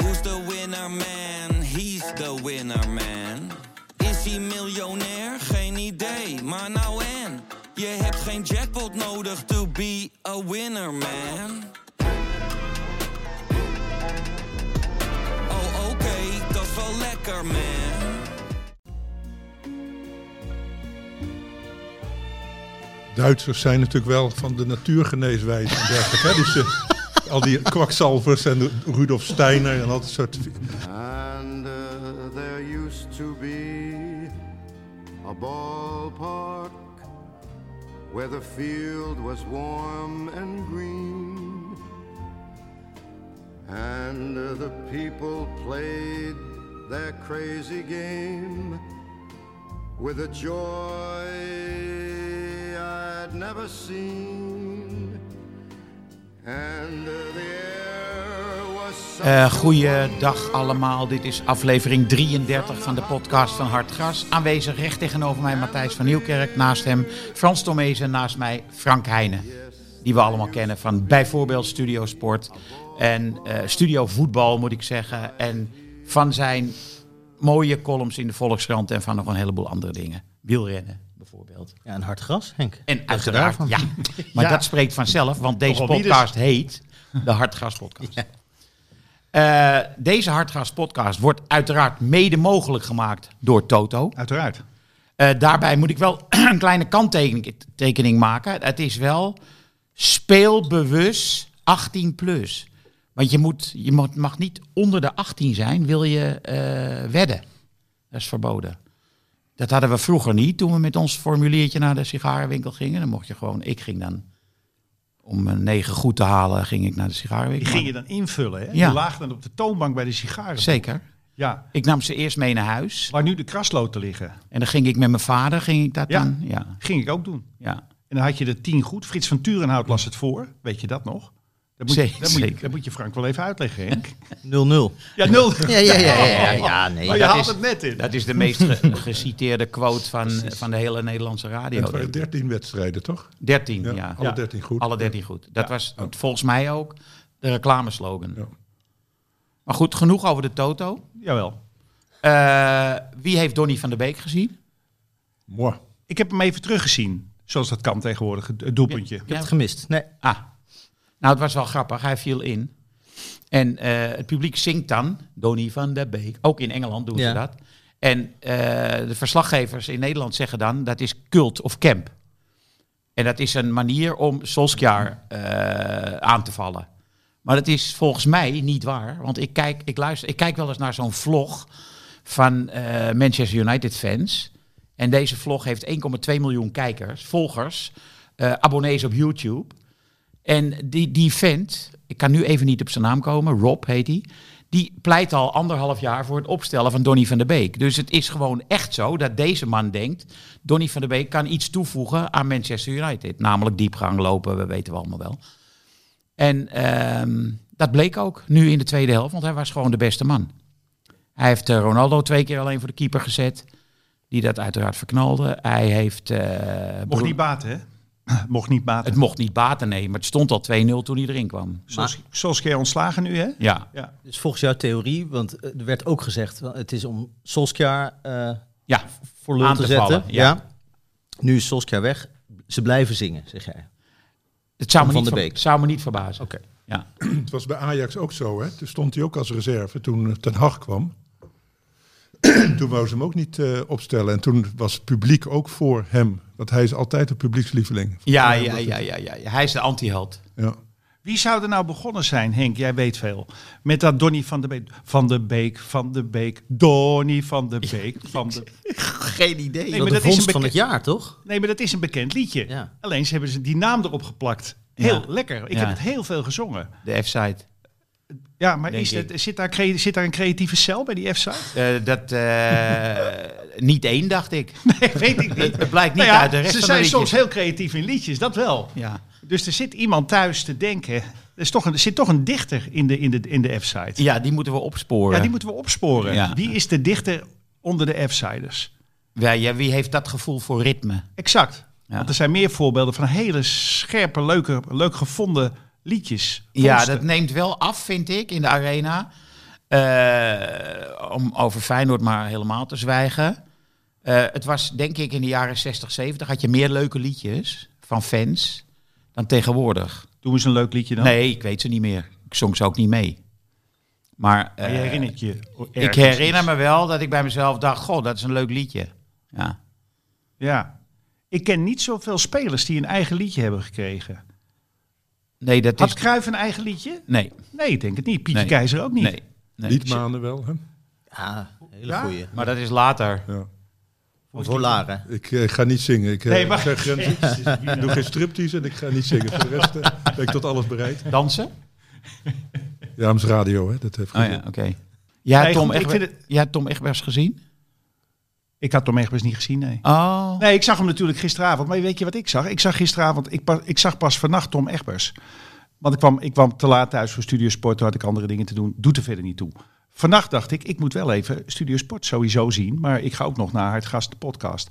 Who's the winner man? He's the winner man. Is hij miljonair? Geen idee, maar nou en. Je hebt geen jackpot nodig to be a winner man. Oh oké, dat is wel lekker man. Duitsers zijn natuurlijk wel van de natuurgeneeswijze en dergelijke. hè. Dus eh, al die kwakzalvers en Rudolf Steiner en al dat soort... And uh, there used to be a ballpark where the field was warm and green. And uh, the people played their crazy game with a joy I'd never seen. And uh, the air was such Eh goeiedag allemaal, dit is aflevering 33 van de podcast van Hartgras. Aanwezig recht tegenover mij Matthijs van Nieuwkerk, naast hem Frans Tomees en naast mij Frank Heijnen. Die we allemaal kennen van bijvoorbeeld Studio Sport en eh, Studio Voetbal moet ik zeggen. En van zijn mooie columns in de Volkskrant en van nog een heleboel andere dingen. Wielrennen bijvoorbeeld. Ja, een hard gras, Henk. En uiteraard, daarvan? ja. Maar Ja. dat spreekt vanzelf, want deze Nogal wie dus. podcast heet de Hartgras Podcast. Eh, deze Hartgras Podcast wordt uiteraard mede mogelijk gemaakt door Toto. Uiteraard. Eh, daarbij moet ik wel een kleine kanttekening tekening maken. Het is wel speelbewust 18 plus. Want je, moet, je mo- mag niet onder de 18 zijn, wil je eh, wedden. Dat is verboden. Dat hadden we vroeger niet toen we met ons formuliertje naar de sigarenwinkel gingen. Dan mocht je gewoon, ik ging dan om een negen goed te halen, ging ik naar de sigarenwinkel. Die ging je dan invullen. Hè? Ja. Die lagen dan op de toonbank bij de sigaren. Zeker. Ja, Ik nam ze eerst mee naar huis. waar nu de krasloten liggen. En dan ging ik met mijn vader, ging ik dat Ja. dan? Ja, Ging ik ook doen. ja. En dan had je de tien goed. Frits van Turenhout las het voor. Weet je dat nog? Dat moet, Zeker, je, dat, moet je, zeker. dat moet je Frank wel even uitleggen, Henk. 0-0. Ja, Ja, nul. ja, ja, ja, ja, Oh, ja, nee. Maar je dat haalt is- het net in. Dat is de meest ge- geciteerde quote van, van de hele Nederlandse radio. Het denk waren ik. 13 wedstrijden, toch? 13, ja. alle 13 goed. Alle 13 goed. Dat was volgens mij ook de reclameslogan. Ja. Maar goed, genoeg over de Toto. Jawel. Eh, wie heeft Donny van der Beek gezien? Mooi. Ik heb hem even teruggezien. Zoals dat kan tegenwoordig, het het doelpuntje. Ik heb het gemist. Nee. Ah, nou het was wel grappig. Hij viel in. En eh, het publiek zingt dan Donny van der Beek. Ook in Engeland doen Ja. ze dat. En eh, de verslaggevers in Nederland zeggen dan dat is cult of camp. En dat is een manier om Solskjaer eh, aan te vallen. Maar dat is volgens mij niet waar. Want ik kijk, ik luister, ik kijk wel eens naar zo'n vlog van eh, Manchester United fans. En deze vlog heeft 1,2 miljoen kijkers, volgers, eh, abonnees op YouTube. En die, die vent, ik kan nu even niet op zijn naam komen, Rob heet hij. Die pleit al anderhalf jaar voor het opstellen van Donny van der Beek. Dus het is gewoon echt zo dat deze man denkt... Donny van der Beek kan iets toevoegen aan Manchester United. Namelijk diepgang lopen, we weten we allemaal wel. En ehm, dat bleek ook nu in de tweede helft, want hij was gewoon de beste man. Hij heeft eh, Ronaldo twee keer alleen voor de keeper gezet. Die dat uiteraard verknalde. Hij heeft... eh, Mocht Bru- niet baten, hè? Mocht niet baten. het mocht niet baten nemen, maar het stond al 2-0 toen hij erin kwam. Zoals, zoals keer ontslagen nu, hè? Ja, Ja. Dus volgens jouw theorie, want eh, er werd ook gezegd, wel, het is om Solskjaer eh, ja. voor lul Aan te, te zetten. vallen, ja. Nu is Solskjaer weg. Ze blijven zingen, zeg jij. Het zou me, Van niet, de ver- Beek. zou me niet verbazen. Oké. Ja. Het was bij Ajax ook zo, hè? Toen stond hij ook als reserve toen eh, Ten Hag kwam. toen wou ze hem ook niet eh, opstellen. En toen was het publiek ook voor hem. Want hij is altijd een publiekslieveling. Ja, ja, ja, ja, ja, Hij is de anti-held. Ja. Wie zou er nou begonnen zijn, Henk? Jij weet veel. Met dat Donny van de Beek. Van de Beek, van de Beek. Donny van de Beek, van de Geen idee. Nee, Wel maar de dat is vondst een van beke- het jaar, toch? Nee, maar dat is een bekend liedje. Ja. Alleen ze hebben ze die naam erop geplakt. Heel Ja. lekker. Ik Ja. heb het heel veel gezongen. De F-site. Ja, maar Denk is ik. dat, zit, daar crea- zit daar een creatieve cel bij die F-site? Eh, dat eh, niet één, dacht ik. Nee, weet ik niet. Het blijkt niet Nou ja, uit de rest van ze de zijn liedjes. soms heel creatief in liedjes, dat wel. Ja. Dus er zit iemand thuis te denken. Er, is toch een, er zit toch een dichter in de, in de, in de F-site. ja, die moeten we opsporen. Ja, die moeten we opsporen. Ja. Wie is de dichter onder de F-siders? Ja, ja, wie heeft dat gevoel voor ritme? Exact. Ja. Want er zijn meer voorbeelden van hele scherpe, leuke, leuk gevonden liedjes. Ja, Posten. dat neemt wel af, vind ik, in de arena. Eh, om over Feyenoord maar helemaal te zwijgen. Eh, het was, denk ik, in de jaren 60, 70 had je meer leuke liedjes van fans dan tegenwoordig. Doe eens een leuk liedje dan. Nee, ik weet ze niet meer. Ik zong ze ook niet mee. Maar, Maar je eh, herinnert je. ik ergens herinner iets. me wel dat ik bij mezelf dacht, goh, dat is een leuk liedje. Ja. Ja. Ik ken niet zoveel spelers die een eigen liedje hebben gekregen. Nee, dat Had is... Cruijff een eigen liedje? Nee, Nee, ik denk het niet. Pietje Nee. Keizer ook niet. nee, nee. Liedmanen wel, hè? Ja, hele Ja? goeie. Maar dat is later. Ja. Voor Laren. Ik eh, ga niet zingen. Ik eh, Nee, maar- zeg, eh, ik doe geen striptease en ik ga niet zingen. Voor de rest eh, ben ik tot alles bereid. Dansen? Ja, maar het is radio, hè? Dat heeft Oh geen ja, zin. oké. Jij, Nee, hebt Tom goed, ik Egber- vind het- jij hebt Tom Egbers gezien? Ik had Tom Egbers niet gezien, nee. Oh. Nee, ik zag hem natuurlijk gisteravond. Maar weet je wat ik zag? Ik zag gisteravond, ik, pa- ik zag pas vannacht Tom Egbers. Want ik kwam, ik kwam te laat thuis voor Studiosport. Toen had ik andere dingen te doen. Doet er verder niet toe. Vannacht dacht ik, ik moet wel even Studiosport sowieso zien. Maar ik ga ook nog naar Hartgast de podcast.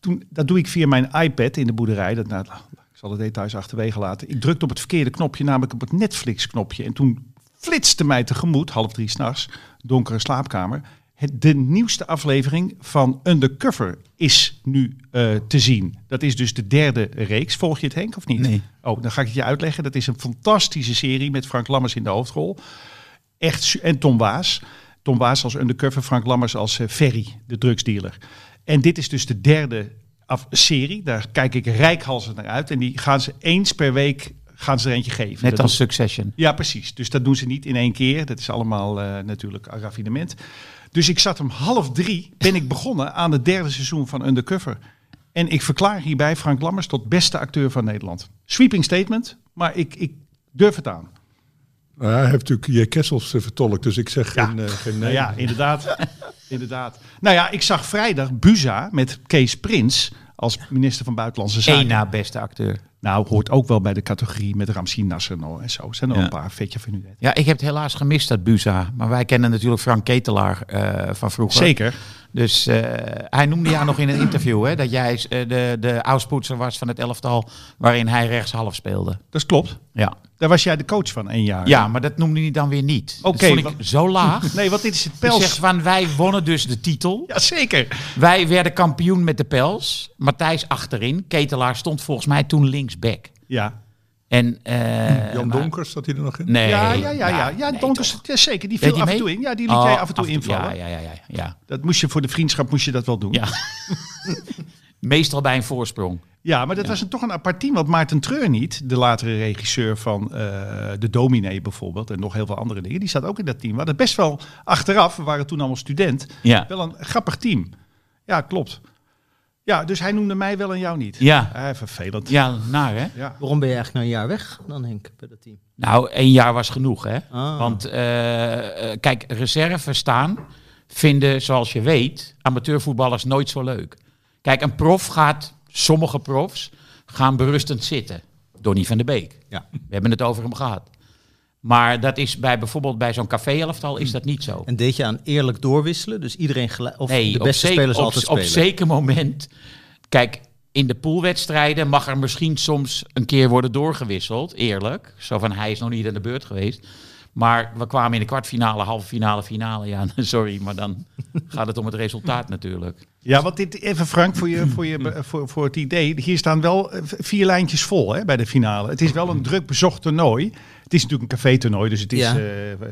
Toen, dat doe ik via mijn iPad in de boerderij. Dat, nou, ik zal de details achterwege laten. Ik drukte op het verkeerde knopje, namelijk op het Netflix-knopje. En toen flitste mij tegemoet, half drie s'nachts, donkere slaapkamer. Het, de nieuwste aflevering van Undercover is nu eh, te zien. Dat is dus de derde reeks. Volg je het, Henk, of niet? Nee. Oh, dan ga ik het je uitleggen. Dat is een fantastische serie met Frank Lammers in de hoofdrol. Echt, su- en Tom Waas. Tom Waas als undercover, Frank Lammers als eh, Ferry, de drugsdealer. En dit is dus de derde af serie. Daar kijk ik rijkhalsend naar uit. En die gaan ze eens per week gaan ze er eentje geven. Net Dat als Succession. ja, precies. Dus dat doen ze niet in één keer. Dat is allemaal eh, natuurlijk een raffinement. Dus ik zat om half drie, ben ik begonnen aan het derde seizoen van Undercover. En ik verklaar hierbij Frank Lammers tot beste acteur van Nederland. Sweeping statement, maar ik, ik durf het aan. Nou ja, hij heeft natuurlijk J. Kessels eh, vertolkt, dus ik zeg Ja. geen, eh, geen Nou nee. ja, inderdaad. inderdaad. Nou ja, ik zag vrijdag Buza met Kees Prins als minister van Buitenlandse Zaken. Eén na beste acteur. Nou, hoort ook wel bij de categorie met Ramsi Nasser en zo. Zijn er Ja. een paar vetje van u. Ja, ik heb het helaas gemist, dat Buza. Maar wij kennen natuurlijk Frank Ketelaar eh, van vroeger. Zeker. Dus eh, hij noemde jou nog in een interview, hè, dat jij eh, de, de oudspoetser was van het elftal waarin hij rechtshalf speelde. Dat klopt. Ja, Daar was jij de coach van één jaar. ja maar dat noemde hij dan weer niet. Dat Oké, vond ik wat- zo laag. Nee, want dit is het Ik pels. zeg van, wij wonnen dus de titel. Jazeker. Wij werden kampioen met de pels. Matthijs achterin. Ketelaar stond volgens mij toen linksback. Ja. En, eh, Jan maar- Donkers, zat hij er nog in? Nee. Hm, ja, ja, ja, ja. Nou, nee, Ja, toch. Donkers, ja, zeker. Die Deed viel die af en mee? toe in. Ja, die liet Oh, jij af en toe invallen. Ja, ja, ja, ja, ja. Dat moest je voor de vriendschap moest je dat wel doen. Ja, ja. Meestal bij een voorsprong. maar dat was een, toch een apart team. Want Maarten Treur niet, de latere regisseur van eh, De Dominee bijvoorbeeld... en nog heel veel andere dingen, die staat ook in dat team. We hadden best wel achteraf, we waren toen allemaal student... Ja. wel een grappig team. Ja, klopt. Ja, dus hij noemde mij wel en jou niet. Ja. Eh, vervelend. Ja, naar hè? Ja. Waarom ben je eigenlijk na een jaar weg dan, Henk, bij dat team? Nou, één jaar was genoeg hè. Ah. Want eh, eh, kijk, reserve staan vinden, zoals je weet, amateurvoetballers nooit zo leuk. Kijk, een prof gaat, sommige profs gaan berustend zitten. Donny van der Beek. Ja. We hebben het over hem gehad. Maar dat is bij bijvoorbeeld bij zo'n café-elftal Hm. is dat niet zo. En deed je aan eerlijk doorwisselen? Dus iedereen gelijk, of Nee, de op beste zeker- spelers op, altijd op spelen? zeker moment. Kijk, in de poolwedstrijden mag er misschien soms een keer worden doorgewisseld. Eerlijk. Zo van hij is nog niet aan de beurt geweest. Maar we kwamen in de kwartfinale, halve finale, finale. Ja, sorry, maar dan gaat het om het resultaat natuurlijk. Ja, want dit, even Frank, voor, je, voor, Mm. je, voor, voor het idee. Hier staan wel eh, v- vier lijntjes vol hè, bij de finale. Het is wel een druk bezocht toernooi. Het is natuurlijk een café-toernooi, dus het is Ja. eh,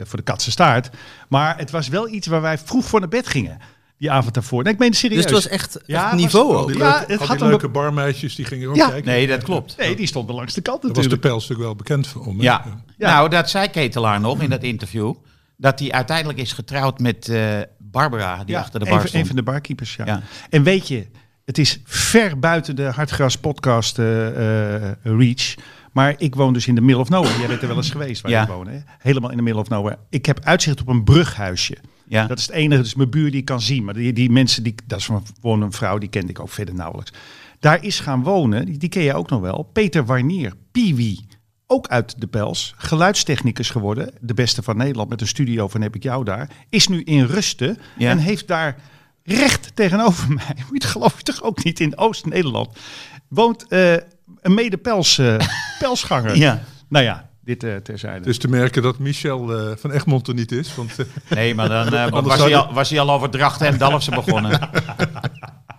voor de katse staart. Maar het was wel iets waar wij vroeg voor naar bed gingen. Die avond daarvoor. Nee, ik meen het Dus serieus. het was echt, echt Ja, niveau was- ook. Die Ja, leuke, het al had die een leuke barmeisjes, die gingen ook Ja, kijken. Nee, dat klopt. Nee, die stond langs de kant Daar was de natuurlijk. pijl natuurlijk wel bekend voor om. hè? Ja. Ja. Nou, dat zei Ketelaar nog in dat interview. Dat hij uiteindelijk is getrouwd met eh, Barbara, die Ja, achter de een bar van- stond. Een van de barkeepers, ja. Ja. En weet je, het is ver buiten de Hartgras podcast eh, eh, reach. Maar ik woon dus in de middle of nowhere. Jij bent er wel eens geweest waar Ja. ik woon. Hè? Helemaal in de middle of nowhere. Ik heb uitzicht op een brughuisje. ja. Dat is het enige, dus mijn buur die ik kan zien. Maar die, die mensen, die, dat is gewoon een vrouw, die kende ik ook verder nauwelijks. Daar is gaan wonen, die, die ken je ook nog wel, Peter Warnier, Piwi. Ook uit de Pels, geluidstechnicus geworden, de beste van Nederland met een studio van Heb ik jou daar. Is nu in rusten Ja. en heeft daar recht tegenover mij, moet je het geloof je toch ook niet, in Oost-Nederland, woont eh, een mede-Pels eh, Pelsganger. Ja. Nou ja, Dit eh, terzijde. Het is te merken dat Michel eh, van Egmond er niet is. Want eh, Nee, maar dan eh, Anders was, zou hij je- al, was hij al over Drachten en Dalfsen begonnen.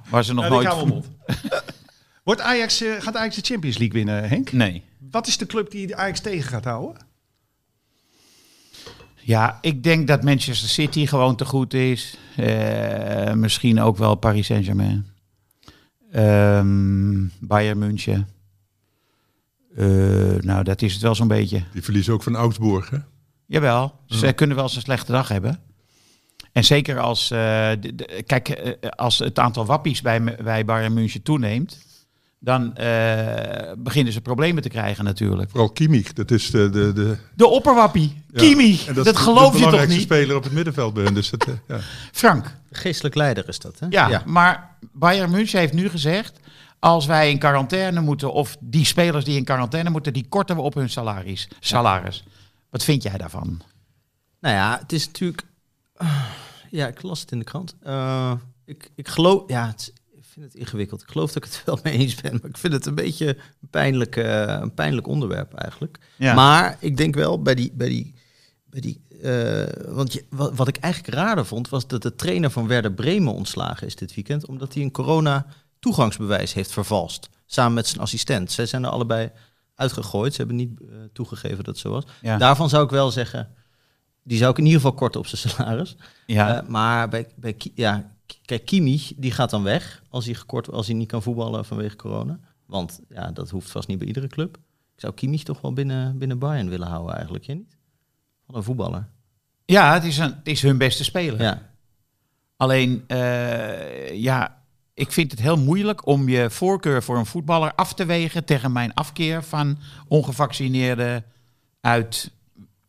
Was er nog Nou, nooit... die gaan we om op. Wordt Ajax, eh, gaat Ajax de Champions League winnen, Henk? Nee. Wat is de club die de Ajax tegen gaat houden? Ja, ik denk dat Manchester City gewoon te goed is. Eh, misschien ook wel Paris Saint-Germain. Ehm, Bayern München. Eh, nou, dat is het wel zo'n beetje. die verliezen ook van Augsburg. Hè? Jawel, ze kunnen wel eens een slechte dag hebben. En zeker als, eh, de- de- kijk, eh, als het aantal wappies bij, me- bij Bayern München toeneemt, dan eh, beginnen ze problemen te krijgen natuurlijk. Vooral Kimmich, dat is de... de, de De opperwappie, ja. Kimi, En dat, is de- geloof de je toch belangrijkste niet? speler op het middenveld bij hen. Dus dat, eh, ja. Frank, Geestelijk leider is dat, hè? ja, maar Bayern München heeft nu gezegd, als wij in quarantaine moeten, of die spelers die in quarantaine moeten, die korten we op hun salaris. salaris. Wat vind jij daarvan? Nou ja, het is natuurlijk... Ah, Ja, ik las het in de krant. Eh, ik, ik geloof... Ja, het, ik vind het ingewikkeld. Ik geloof dat ik het wel mee eens ben. Maar ik vind het een beetje een pijnlijk, eh, een pijnlijk onderwerp eigenlijk. Ja. Maar ik denk wel bij die... Bij die, bij die eh, want je, wat, wat ik eigenlijk raarder vond... was dat de trainer van Werder Bremen ontslagen is dit weekend... omdat hij een corona-toegangsbewijs heeft vervalst. Samen met zijn assistent. Zij zijn er allebei uitgegooid. Ze hebben niet eh, toegegeven dat het zo was. Ja. Daarvan zou ik wel zeggen... Die zou ik in ieder geval korten op zijn salaris. Ja. Eh, maar bij, bij Ki- ja, k- kijk, Kimmich, die gaat dan weg als hij, gekort, als hij niet kan voetballen vanwege corona. Want ja, dat hoeft vast niet bij iedere club. Ik zou Kimmich toch wel binnen, binnen Bayern willen houden eigenlijk, jij niet? Van een voetballer. ja, het is, een, het is hun beste speler. Ja. Alleen, eh, ja, ik vind het heel moeilijk om je voorkeur voor een voetballer af te wegen tegen mijn afkeer van ongevaccineerden uit.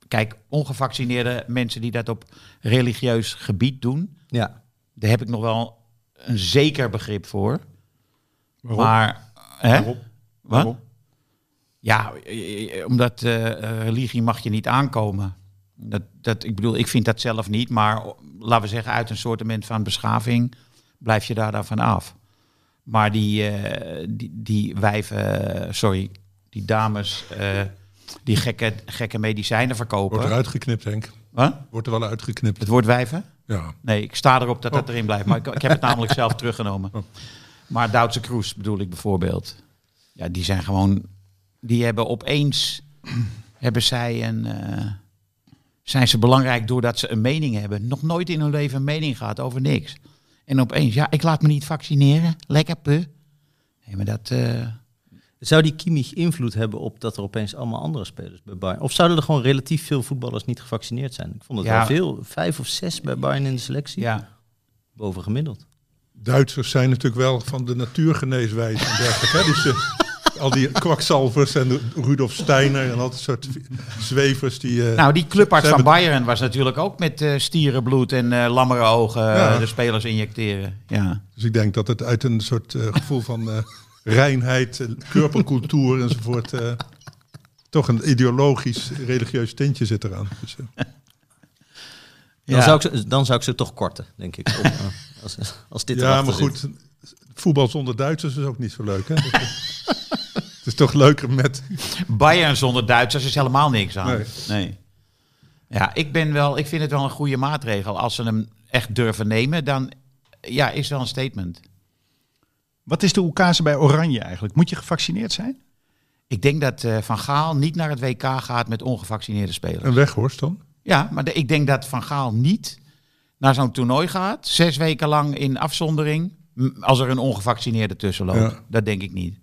Kijk, ongevaccineerde mensen die dat op religieus gebied doen, ja. daar heb ik nog wel een zeker begrip voor. Waarom? Maar, hè? Waarom? Wat? Ja, eh, eh, omdat eh, eh, religie mag je niet aankomen. Dat, dat, ik bedoel, ik vind dat zelf niet, maar o- laten we zeggen, uit een soortement van beschaving blijf je daar dan van af. Maar die, eh, die, die wijven, eh, sorry, die dames eh, die gekke, gekke medicijnen verkopen. Wordt eruit geknipt, Henk. Huh? Wordt er wel uitgeknipt. Het woord wijven? Ja. Nee, ik sta erop dat dat Oh. erin blijft. Maar ik, ik heb het namelijk zelf teruggenomen. Maar Duitse Kroes bedoel ik bijvoorbeeld. Ja, die zijn gewoon... Die hebben opeens... hebben zij een... eh, zijn ze belangrijk doordat ze een mening hebben. Nog nooit in hun leven een mening gehad over niks. En opeens, ja, ik laat me niet vaccineren. Lekker, puh. Nee, maar dat... eh, Zou die Kimmich invloed hebben op dat er opeens allemaal andere spelers bij Bayern... Of zouden er gewoon relatief veel voetballers niet gevaccineerd zijn? Ik vond het Ja. wel veel. Vijf of zes bij Bayern in de selectie. ja. Boven gemiddeld. Duitsers zijn natuurlijk wel van de natuurgeneeswijze en dergelijke. hè. Dus, eh, al die kwakzalvers en Rudolf Steiner en al dat soort zwevers die... eh, Nou, die clubarts Ze van hebben- Bayern was natuurlijk ook met eh, stierenbloed en eh lammere ogen eh, Ja. de spelers injecteren. Ja. Dus ik denk dat het uit een soort eh, gevoel van eh, reinheid, eh, körpercultuur enzovoort... eh, toch een ideologisch, religieus tintje zit eraan. Dus, eh, Dan, Ja. zou ik ze, dan zou ik ze toch korten, denk ik. Om, eh, als, als dit ja, erachter maar zit. goed, voetbal zonder Duitsers is ook niet zo leuk, hè? Dat- Het is toch leuker met... Bayern zonder Duitsers is helemaal niks aan. Nee. Nee. Ja, ik, ben wel, ik vind het wel een goede maatregel. Als ze hem echt durven nemen, dan ja, is wel een statement. Wat is de oekase bij Oranje eigenlijk? Moet je gevaccineerd zijn? Ik denk dat eh, Van Gaal niet naar het WK gaat met ongevaccineerde spelers. Een weghorst dan? Ja, maar de- ik denk dat Van Gaal niet naar zo'n toernooi gaat. Zes weken lang in afzondering. m, Als er een ongevaccineerde tussen loopt. Ja. Dat denk ik niet.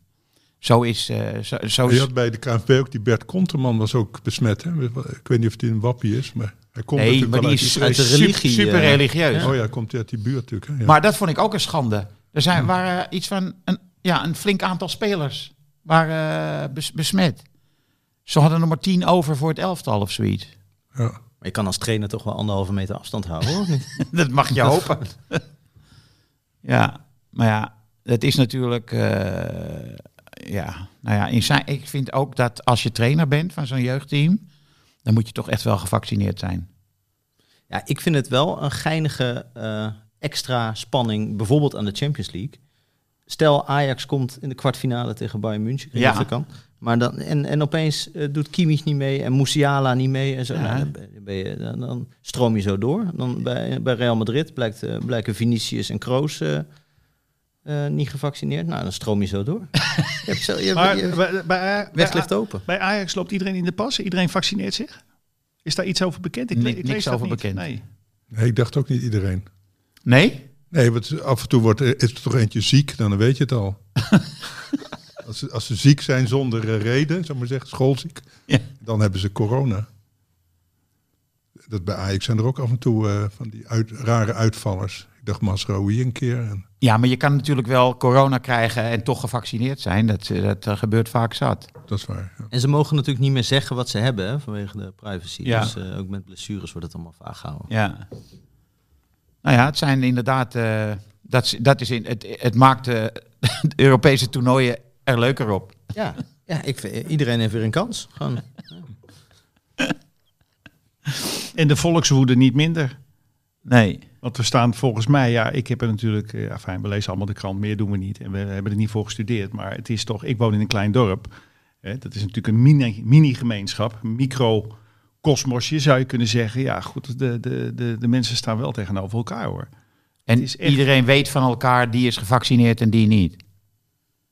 Zo is... eh, zo, zo Je is had bij de KNVB ook die Bert Konterman was ook besmet. Hè? Ik weet niet of hij een wappie is, maar hij komt nee, natuurlijk maar wel die uit is, die- uit de super- religie, eh, super religieus. Oh ja, hij komt uit die buurt natuurlijk. Hè? Ja. Maar dat vond ik ook een schande. Er zijn, waren iets van een, ja, een flink aantal spelers waren eh, bes- besmet. Ze hadden nog maar tien over voor het elftal of zoiets. Ja. Maar je kan als trainer toch wel anderhalve meter afstand houden, hoor. dat mag je hopen. ja, maar ja, het is natuurlijk... eh, ja, nou ja, in zijn, ik vind ook dat als je trainer bent van zo'n jeugdteam... dan moet je toch echt wel gevaccineerd zijn. Ja, ik vind het wel een geinige eh, extra spanning, bijvoorbeeld aan de Champions League. Stel, Ajax komt in de kwartfinale tegen Bayern München. Ik weet Ja. niet of dat kan. Maar dan, en, en opeens eh, doet Kimmich niet mee en Musiala niet mee. En zo. Ja. Nou, dan, ben- dan ben je, dan, dan stroom je zo door. Dan bij, bij Real Madrid blijkt, eh, blijken Vinicius en Kroos eh, eh, niet gevaccineerd. Nou, dan stroom je zo door. je hebt zo, je, Maar eh, je- bij, bij, weg bij, ligt open. bij Ajax loopt iedereen in de pas. Iedereen vaccineert zich. Is daar iets over bekend? Ik, le- Ni- ik niks lees dat over niet. bekend. Nee. Nee, ik dacht ook niet iedereen. Nee? Nee, want af en toe wordt, er- is er toch eentje ziek, dan weet je het al. als, ze, als ze ziek zijn zonder eh, reden, zou ik maar zeggen, schoolziek, Ja. dan hebben ze corona. Dat bij Ajax zijn er ook af en toe eh, van die uit, rare uitvallers. Ik dacht Masraoui een keer. En, Ja, maar je kan natuurlijk wel corona krijgen en toch gevaccineerd zijn. Dat, eh, dat eh, gebeurt vaak zat. dat is waar. ja. En ze mogen natuurlijk niet meer zeggen wat ze hebben hè, vanwege de privacy. Ja. Dus eh, ook met blessures wordt het allemaal vaag gehouden. Ja. Nou ja, het zijn inderdaad. eh, dat, is- dat is in, het, het maakt eh, de Europese toernooien er leuker op. Ja, ja ik, vind- eh, iedereen heeft weer een kans. Gewoon. En de volkswoede niet minder. Nee. Want we staan volgens mij, ja, ik heb er natuurlijk, eh, fijn, we lezen allemaal de krant, meer doen we niet. En we hebben er niet voor gestudeerd, maar het is toch, ik woon in een klein dorp. Hè, dat is natuurlijk een mini- mini-gemeenschap, microcosmosje zou je kunnen zeggen. Ja, goed, de, de, de, de mensen staan wel tegenover elkaar hoor. En Het is echt- iedereen weet van elkaar die is gevaccineerd en die niet.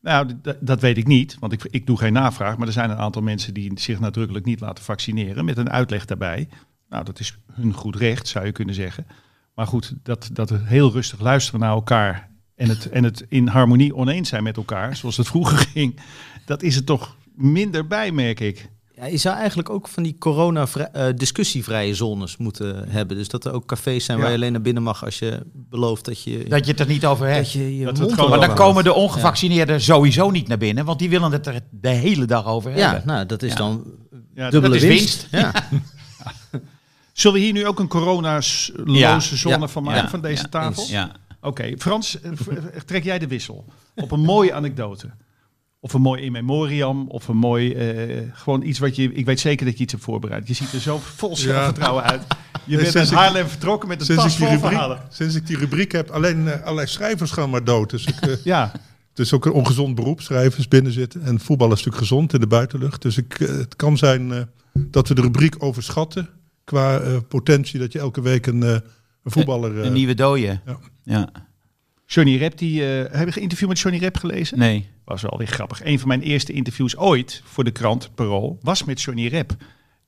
Nou, d- d- dat weet ik niet, want ik, ik doe geen navraag. Maar er zijn een aantal mensen die zich nadrukkelijk niet laten vaccineren met een uitleg daarbij. Nou, dat is hun goed recht, zou je kunnen zeggen. Maar goed, dat, dat heel rustig luisteren naar elkaar en het, en het in harmonie oneens zijn met elkaar, zoals het vroeger ging, dat is er toch minder bij, merk ik. Ja, je zou eigenlijk ook van die corona-discussievrije zones moeten hebben. Dus dat er ook cafés zijn Ja. waar je alleen naar binnen mag als je belooft dat je Dat je het er niet over hebt. dat je, je dat we het mond maar gewoon- dan open houdt. komen de ongevaccineerden sowieso niet naar binnen, want die willen het er de hele dag over Ja, hebben. nou, dat is Ja. dan Ja, dat- dubbele is winst. Ja. Zullen we hier nu ook een coronaloze Ja, zone ja, van maken, ja, van deze ja, tafel? Ja. Oké, Frans, eh, v- eh, trek jij de wissel op een mooie anekdote. Of een mooi in memoriam, of een mooi, eh, gewoon iets wat je, ik weet zeker dat je iets hebt voorbereid. Je ziet er zo vol zelfvertrouwen uit. Je bent uit sinds ik- Haarlem vertrokken met een Sinds tas ik, die vol rubriek, verhalen. sinds ik die rubriek heb, alleen eh, allerlei schrijvers gaan maar dood. Dus ik, eh, Ja, het is ook een ongezond beroep, schrijvers binnen zitten. En voetbal is natuurlijk gezond in de buitenlucht. Dus ik, eh, het kan zijn eh, dat we de rubriek overschatten qua eh, potentie dat je elke week een, eh, een voetballer... eh, Een nieuwe dooie. Ja. Ja. Johnny Rep, die, eh, heb je een interview met Johnny Rep gelezen? Nee. was wel weer grappig. Een van mijn eerste interviews ooit voor de krant Parool was met Johnny Rep.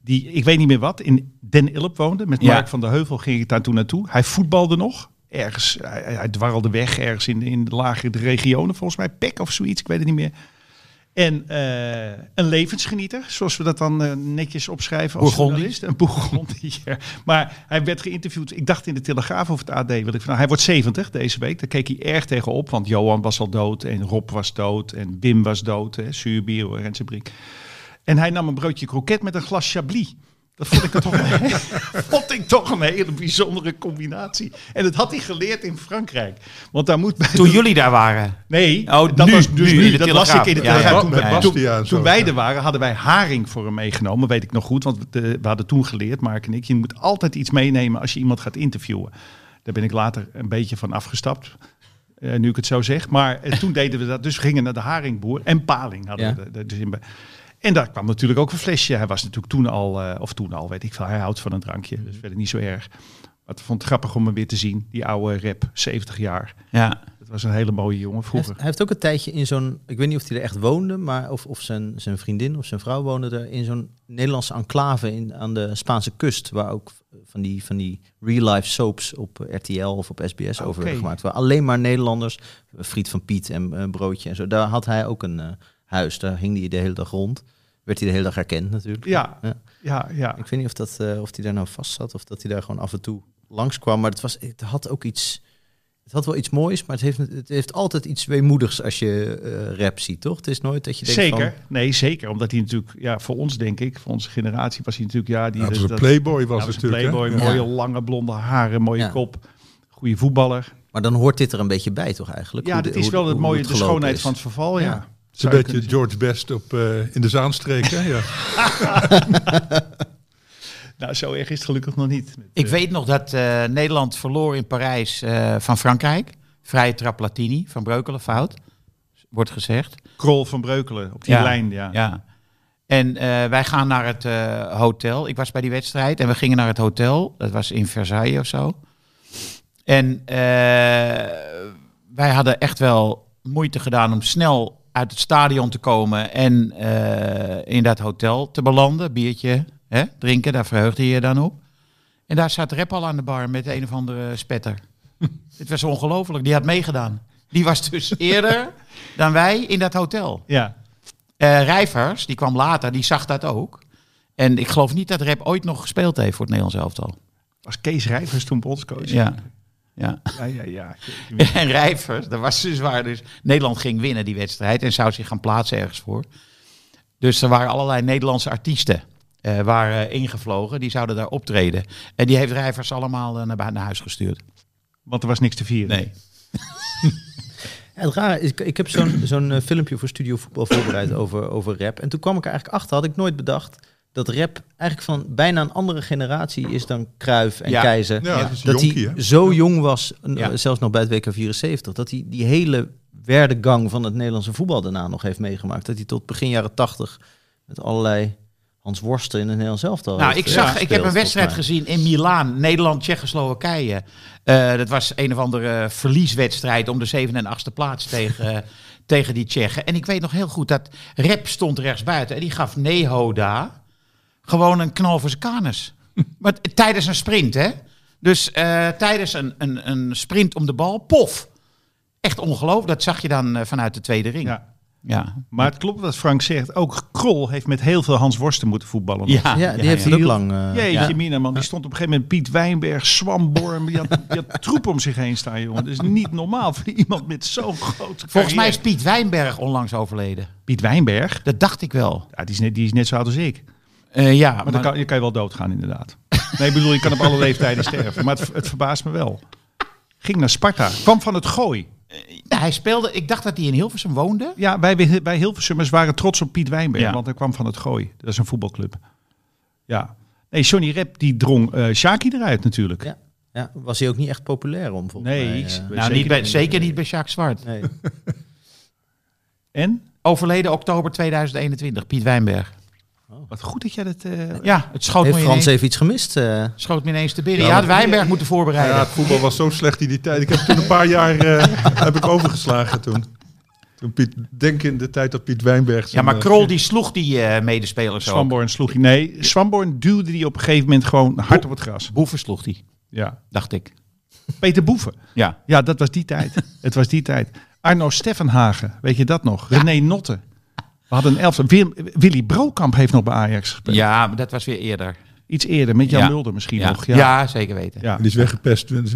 Die, ik weet niet meer wat, in Den Ilp woonde. Met Ja. Mark van der Heuvel ging ik daar toen naartoe. Hij voetbalde nog. Ergens, hij, hij- hij dwarrelde weg ergens in, in de lagere regionen. Volgens mij Pek of zoiets, ik weet het niet meer. En eh, een levensgenieter, zoals we dat dan eh, netjes opschrijven als Bourgondi. journalist. Een Bourgondier. Maar hij werd geïnterviewd, ik dacht in de Telegraaf of het AD. Wil ik van, hij wordt 70 deze week, daar keek hij erg tegenop. Want Johan was al dood en Rob was dood en Wim was dood. Hè, Suurbier, Renze Brink. En hij nam een broodje kroket met een glas Chablis. Dat vond ik, toch een, vond ik toch een hele bijzondere combinatie. En dat had hij geleerd in Frankrijk. Want daar moet bij Toen jullie daar waren. Nee, Oh, dat nu, was dus nu, nu. in de dat las ik Telegraaf. in de Ja, ja, ja. Telegraaf. Toen, Met wij- Bastia toen- en zo, toen wij ja. er waren, hadden wij haring voor hem meegenomen. Weet ik nog goed, want eh, we hadden toen geleerd, Mark en ik. Je moet altijd iets meenemen als je iemand gaat interviewen. Daar ben ik later een beetje van afgestapt. eh, nu ik het zo zeg. Maar eh, toen deden we dat. Dus we gingen naar de haringboer. En paling hadden Ja. we. er- er- dus in be- en daar kwam natuurlijk ook een flesje. Hij was natuurlijk toen al, eh, of toen al, weet ik veel. Hij houdt van een drankje. Mhm. Dus verder niet zo erg. Maar ik vond het grappig om hem weer te zien. Die oude rap, 70 jaar. Ja. Dat was een hele mooie jongen Hij, vroeger. heeft, hij heeft ook een tijdje in zo'n, ik weet niet of hij er echt woonde, maar of, of zijn, zijn vriendin of zijn vrouw woonde er in zo'n Nederlandse enclave in, aan de Spaanse kust, waar ook van die, van die real-life soaps op eh, RTL of op SBS over werden gemaakt. Waar alleen maar Nederlanders, eh, Friet van Piet en eh, Broodje en zo, daar had hij ook een eh, huis, daar hing hij de hele dag rond. Werd hij de hele dag herkend natuurlijk. Ja, Ja. ja, ja. Ik weet niet of, dat, eh, of hij daar nou vast zat of dat hij daar gewoon af en toe langskwam. Maar het, was, het had ook iets. Het had wel iets moois, maar het heeft, het heeft altijd iets weemoedigs als je eh, rap ziet, toch? Het is nooit dat je denkt Zeker. van... Nee, zeker. Omdat hij natuurlijk, ja, voor ons denk ik, voor onze generatie was hij natuurlijk, ja, die dus ja, het was dat- een playboy was ja, was het een natuurlijk. hè? playboy, Ja. mooie Ja. lange blonde haren, mooie Ja. kop, goede voetballer. Maar dan hoort dit er een beetje bij, toch eigenlijk? Ja, Hoe dat de- is hoe wel de- het hoe mooie, het de gelopen schoonheid is. van het verval. Ja. Ja. Zou Het is een je beetje George kunnen Best op, eh, in de Zaanstreek. Hè? Ja. zeggen. Nou, zo erg is het gelukkig nog niet. Met, Ik eh, weet nog dat eh, Nederland verloor in Parijs eh, van Frankrijk. Vrije trap Platini van Breukelen fout. wordt gezegd. Krol van Breukelen op die lijn. Ja. Ja. En eh, wij gaan naar het eh, hotel. Ik was bij die wedstrijd en we gingen naar het hotel. Dat was in Versailles of zo. En eh, wij hadden echt wel moeite gedaan om snel uit het stadion te komen en eh, in dat hotel te belanden. Biertje hè, drinken, daar verheugde je je dan op. En daar zat Rep al aan de bar met een of andere spetter. Het was ongelooflijk, die had meegedaan. Die was dus eerder dan wij in dat hotel. Ja. Eh, Rijvers, die kwam later, die zag dat ook. En ik geloof niet dat Rep ooit nog gespeeld heeft voor het Nederlands elftal. Was Kees Rijvers toen bondscoach? Ja. ja. Ja, ja, ja. En Rijvers, dat was dus waar. Dus Nederland ging winnen die wedstrijd en zou zich gaan plaatsen ergens voor. Dus er waren allerlei Nederlandse artiesten eh, waren ingevlogen. Die zouden daar optreden. En die heeft Rijvers allemaal eh, naar, bui- naar huis gestuurd. Want er was niks te vieren. Nee. Ja, het rare is, ik, ik heb zo'n zo'n eh, filmpje voor Studio Voetbal voorbereid over, over rap. En toen kwam ik er eigenlijk achter, had ik nooit bedacht... dat rap eigenlijk van bijna een andere generatie is dan Kruif en Ja. Keizer. Ja, dat is dat een jonkie, hij hè? zo jong was, n- Ja. zelfs nog bij het WK 74... dat hij die hele werdegang van het Nederlandse voetbal daarna nog heeft meegemaakt. Dat hij tot begin jaren tachtig met allerlei Hans Worsten in het Nederlands elftal Nou, heeft, ik, eh, zag, ik gespeeld, heb een wedstrijd volgens gezien in Milaan, Nederland, Tsjechoslowakije. Eh, dat was een of andere verlieswedstrijd om de zevende en achtste plaats tegen, eh, tegen die Tsjechen. En ik weet nog heel goed dat Rep stond rechtsbuiten en die gaf Nehoda gewoon een knal voor zijn kanus. maar t- tijdens een sprint, hè? Dus eh, tijdens een, een, een sprint om de bal, pof. Echt ongelooflijk, dat zag je dan eh, vanuit de tweede ring. Ja. Ja. Ja. Maar het klopt wat Frank zegt. Ook Krol heeft met heel veel Hans Worsten moeten voetballen. nog. mij. Ja, die heeft het ook lang... eh, Jeetje, Ja. Mina, man. Die stond op een gegeven moment Piet Wijnberg, Swamborn. Die had, die had troep om zich heen staan, jongen. Dat is niet normaal voor iemand met zo'n grote Volgens mij is carrière. Piet Wijnberg onlangs overleden. Piet Wijnberg, Dat dacht ik wel. ja, die, is net, die is net zo oud als ik. Eh, ja, Maar dan kan, je kan je wel doodgaan, inderdaad. Nee, ik bedoel, je kan op alle leeftijden sterven. Maar het, het verbaast me wel. Ging naar Sparta. Kwam van het gooi. Nou, hij speelde, ik dacht dat hij in Hilversum woonde. Ja, wij, wij Hilversummers waren trots op Piet Wijnberg, Ja. want hij kwam van het Gooi. Dat is een voetbalclub. Ja. Nee, Johnny Rep die drong eh Shaki eruit natuurlijk. Ja. Ja, was hij ook niet echt populair om volgens Nee, mij, ik- eh, Nou, niet bij, zeker niet bij Jacques Zwart. nee. En? Overleden oktober 2021, Piet Wijnberg. Wat goed dat jij dat... eh, Ja, het schoot, me Heeft Frans ineens, even iets gemist? eh? schoot me ineens te binnen. Ja, Je had maar- Wijnberg moeten voorbereiden. Ja, het voetbal was zo slecht in die tijd. Ik heb toen een paar jaar eh, heb ik overgeslagen toen. toen Piet, denk in de tijd dat Piet Wijnberg... Ja, zijn, maar eh, Krol die sloeg die eh, medespelers ook. Swamborn sloeg hij. Nee, Swamborn duwde die op een gegeven moment gewoon hard op het gras. Boeven sloeg die, Ja. dacht ik. Peter Boeven. Ja. Ja, dat was die tijd. het was die tijd. Arno Steffenhagen, weet je dat nog? René Notte. We hadden een elftal. Willem- Willy Brokamp heeft nog bij Ajax gespeeld. ja, maar dat was weer eerder. Iets eerder, met Jan Ja. Mulder misschien Ja, nog. ja. Ja. zeker weten. Ja. Die is weggepest. Is-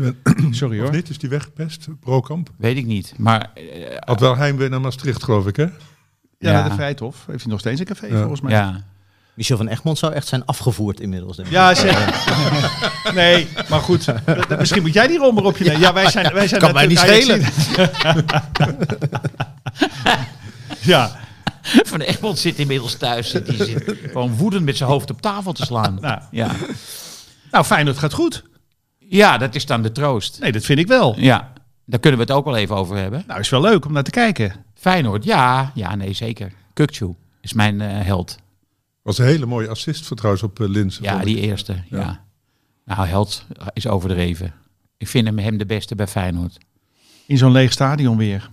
Sorry Of hoor. niet? Is die weggepest? Brokamp? Weet ik niet. Maar eh, Had wel heimwee naar Maastricht, geloof ik, hè? Ja, Ja. naar de Vrijthof. Heeft hij nog steeds een café Ja. volgens mij. ja. Michel van Egmond zou echt zijn afgevoerd inmiddels. Denk ik. Ja, zeker. Nee, maar goed. dat- dat- Misschien moet jij die rol maar op je nemen. Ja, wij zijn, wij zijn kan mij niet natuurlijk Ajaxiden. ja, Van Egmond zit inmiddels thuis. Zit, die zit gewoon woedend met zijn hoofd op tafel te slaan. nou, Ja. nou fijn, dat gaat goed. ja, dat is dan de troost. Nee, dat vind ik wel. Ja, daar kunnen we het ook wel even over hebben. Nou, is wel leuk om naar te kijken. Feyenoord, ja. Ja, nee, zeker. Kukcu is mijn eh, held. Was een hele mooie assist voor trouwens op eh, Linzen. Ja, vond ik. die eerste. Ja. Nou, held is overdreven. Ik vind hem, hem de beste bij Feyenoord. In zo'n leeg stadion weer.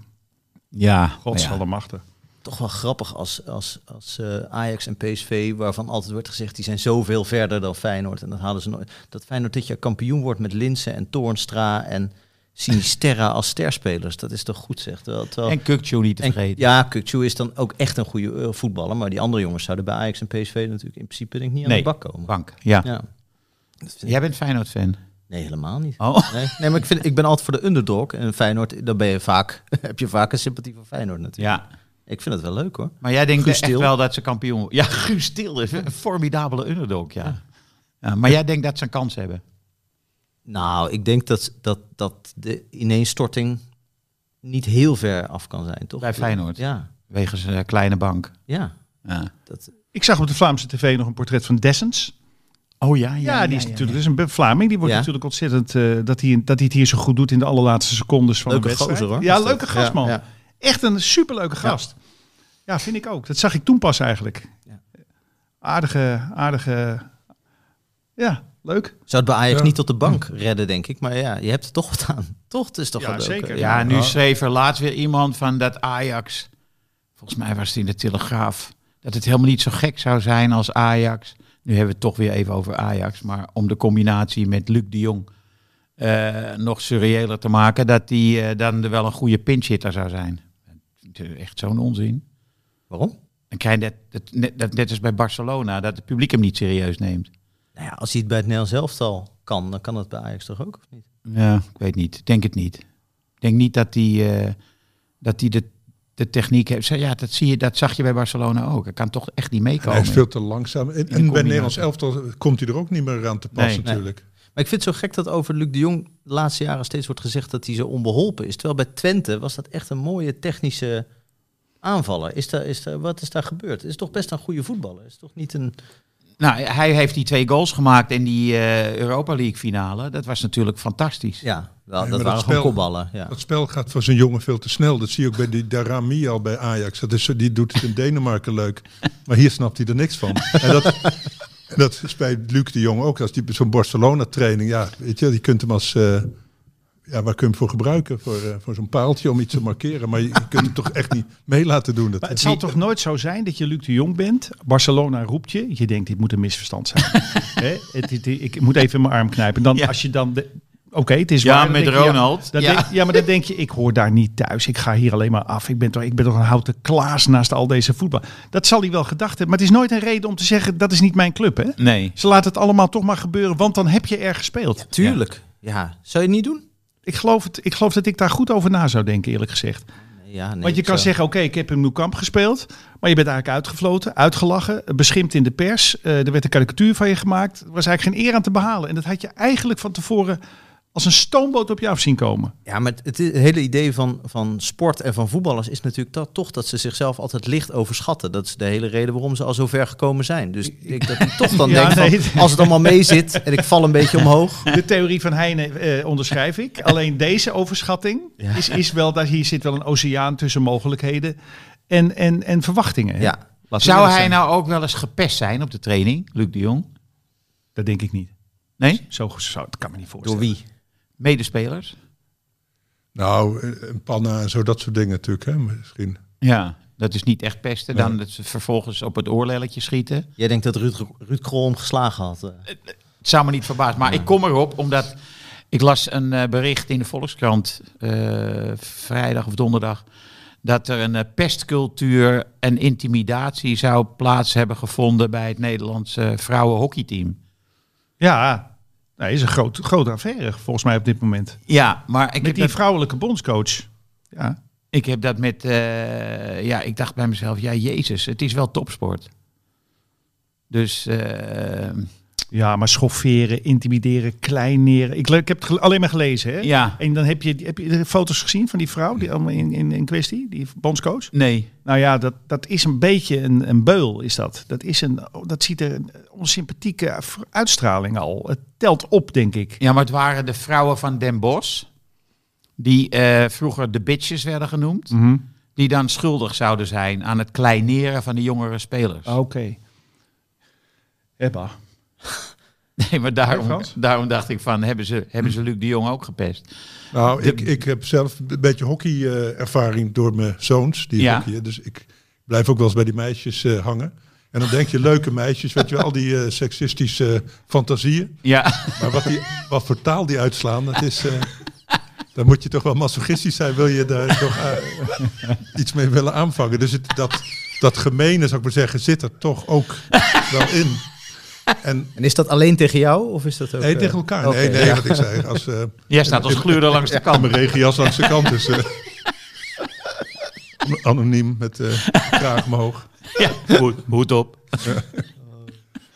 Ja. ja. Godsallemachte. Toch wel grappig als, als, als eh, Ajax en PSV, waarvan altijd wordt gezegd, die zijn zoveel verder dan Feyenoord. En dat halen ze nooit. Dat Feyenoord dit jaar kampioen wordt met Linsen en Toornstra en Sinisterra als sterspelers. Dat is toch goed, zeg. Terwijl, terwijl- En Kukcu niet te en- vergeten. ja, Kukçu is dan ook echt een goede eh, voetballer. Maar die andere jongens zouden bij Ajax en PSV natuurlijk in principe denk ik, niet aan Nee. de bak komen. Bank, ja. Ja. Jij bent Feyenoord-fan. Nee, helemaal niet. Oh. Nee, nee, maar ik, vind, ik ben altijd voor de underdog. En Feyenoord, dan ben je vaak, heb je vaak een sympathie voor Feyenoord natuurlijk. Ja. Ik vind het wel leuk hoor. Maar jij denkt dus Guus echt Til. wel dat ze kampioen worden. Ja, Guus Til is een formidabele underdog, ja. Ja, maar jij denkt dat ze een kans hebben. Nou, ik denk dat, dat, dat de ineenstorting niet heel ver af kan zijn, toch? Bij Feyenoord. Ja, Wegens een kleine bank. ja. Ja. Dat, Ik zag op de Vlaamse tv nog een portret van Dessens. Oh ja, Ja, die is natuurlijk dus een Be- Vlaming. Die wordt Ja. natuurlijk ontzettend eh, dat, hij, dat hij het hier zo goed doet in de allerlaatste secondes van de leuke wedstrijd. gozer hoor. Ja, Is dat. leuke gast man. Ja, ja. Echt een superleuke gast. Ja. vind ik ook. Dat zag ik toen pas eigenlijk. Ja. Aardige, aardige... Ja, leuk. Zou het bij Ajax Ja. niet tot de bank redden, denk ik. Maar ja, je hebt het toch gedaan. Toch? Het is toch Ja, wel leuk. zeker. Ja. Ja, nu Ja. schreef er laatst weer iemand van dat Ajax. Volgens mij was het in de Telegraaf. Dat het helemaal niet zo gek zou zijn als Ajax. Nu hebben we het toch weer even over Ajax. Maar om de combinatie met Luc de Jong eh, nog surreëler te maken. Dat die eh, dan er wel een goede pinchhitter zou zijn. Het is Echt zo'n onzin. Waarom? Dan krijg je dat, dat, net, dat net als bij Barcelona. Dat het publiek hem niet serieus neemt. Nou ja, als hij het bij het Nederlands elftal kan, dan kan het bij Ajax toch ook? Of niet? Ja, ik weet niet. Ik Denk het niet. Ik Denk niet dat die, eh, dat die de, de techniek heeft. Zo, Ja, dat, zie je, dat zag je bij Barcelona ook. Hij kan toch echt niet Hij meekomen. is veel te langzaam. En, en bij combinatie. Nederlands elftal komt hij er ook niet meer aan te pas Nee. natuurlijk. Maar ik vind het zo gek dat over Luc de Jong de laatste jaren steeds wordt gezegd dat hij zo onbeholpen is. Terwijl bij Twente was dat echt een mooie technische aanvaller. Is daar, is daar, wat is daar gebeurd? Is toch best een goede voetballer? Is toch niet een... Nou, hij heeft die twee goals gemaakt in die eh, Europa League finale. Dat was natuurlijk fantastisch. Ja, wel, Nee, maar dat dat waren gewoon spel- kopballen. Ja. Dat spel gaat voor zijn jongen veel te snel. Dat zie je ook bij die Darami al bij Ajax. Dat is, die doet het in Denemarken leuk. Maar hier snapt hij er niks van. En dat, en dat is bij Luc de Jong ook. Als die zo'n Barcelona training. Ja, weet je, die kunt hem als. eh, ja, waar kun je hem voor gebruiken? Voor, eh, voor zo'n paaltje om iets te markeren. Maar je, je kunt hem toch echt niet mee laten doen. Maar Dat, het zal toch nooit zo zijn dat je Luc de Jong bent. Barcelona roept je. Je denkt, dit moet een misverstand zijn. Hè? Het- het- ik moet even in mijn arm knijpen. Dan, Ja. Als je dan... de- Oké, het is Ja, waar. Dan met denk je, Ronald. dan Ja. denk- ja, maar dan denk je, ik hoor daar niet thuis. Ik ga hier alleen maar af. Ik ben toch, ik ben toch een houten klaas naast al deze voetbal. Dat zal hij wel gedacht hebben. Maar het is nooit een reden om te zeggen, dat is niet mijn club. Hè? Nee. Ze laten het allemaal toch maar gebeuren, want dan heb je er gespeeld. Tuurlijk. Ja. Zou je het niet doen? Ik geloof, het, ik geloof dat ik daar goed over na zou denken, eerlijk gezegd. Nee, Ja, nee, Want je kan zo. zeggen, oké, ik heb in Nieuwkamp gespeeld. Maar je bent eigenlijk uitgefloten, uitgelachen, eh, beschimpt in de pers. eh, er werd een karikatuur van je gemaakt. Er was eigenlijk geen eer aan te behalen. En dat had je eigenlijk van tevoren als een stoomboot op je af zien komen. Ja, maar het, het is- het hele idee van, van sport en van voetballers is natuurlijk dat, toch dat ze zichzelf altijd licht overschatten. Dat is de hele reden waarom ze al zo ver gekomen zijn. Dus ik denk dat ik toch dan Ja, denk nee. van, als het allemaal mee zit en ik val een beetje omhoog. De theorie van Heine eh, onderschrijf ik. Alleen deze overschatting is, is wel, dat hier zit wel een oceaan tussen mogelijkheden en, en, en verwachtingen. hè. Ja. Laten we Zou eerlijk hij zijn. nou ook wel eens gepest zijn op de training, Luc de Jong? Dat denk ik niet. Nee? Zo, zo, dat kan me niet voorstellen. Door wie? Medespelers? nou, eh, een panna en zo, dat soort dingen natuurlijk. Hè, misschien. Ja. Dat is niet echt pesten. Dan Nee. dat ze vervolgens op het oorlelletje schieten. Jij denkt dat Ruud, Ruud Krol hem geslagen had. eh. Het zou me niet verbaasd. Maar ik kom erop omdat ik las een eh, bericht in de Volkskrant eh, vrijdag of donderdag. Dat er een eh, pestcultuur en intimidatie zou plaats hebben gevonden bij het Nederlandse vrouwenhockeyteam. Ja, nee, is een groot, grote affaire volgens mij op dit moment. Ja, maar ik Met heb, die dat, vrouwelijke bondscoach. Ja. ik heb dat met. eh, ja, ik dacht bij mezelf, ja, Jezus, het is wel topsport. Dus eh, ja, maar schofferen, intimideren, kleineren. Ik, le- ik heb het gele- alleen maar gelezen. Hè? ja, En dan heb je, heb je de foto's gezien van die vrouw die allemaal in, in, in kwestie, die bondscoach. nee. Nou ja, dat, dat is een beetje een, een beul, is dat. Dat, is een, dat ziet er een onsympathieke uitstraling al. Het telt op, denk ik. Ja, maar het waren de vrouwen van Den Bosch. Die eh, vroeger de bitches werden genoemd. die dan schuldig zouden zijn aan het kleineren van de jongere spelers. Oh. Oké. Ebba. Nee, maar Hey, daarom, Frans? daarom dacht ik van, hebben ze, hebben ze Luc de Jong ook gepest? Nou, De- ik, ik heb zelf een beetje hockeyervaring door mijn zoons. Die Ja. hockeyen, dus ik blijf ook wel eens bij die meisjes eh, hangen. En dan denk je, leuke meisjes, weet je wel, al die eh, seksistische eh, fantasieën. Ja, Maar wat, die, wat voor taal die uitslaan, dat is... eh, dan moet je toch wel masochistisch zijn, wil je daar toch eh, iets mee willen aanvangen. Dus het, dat, dat gemene, zou ik maar zeggen, zit er toch ook wel in. En En is dat alleen tegen jou of is dat ook... nee, eh, tegen elkaar. oké, nee, nee, ja. wat ik zei. Als, eh, jij staat als gluurder langs de kan kant. mijn regenjas langs de kant. Dus, eh, anoniem met eh kraag omhoog. Ja, hoed, hoed op.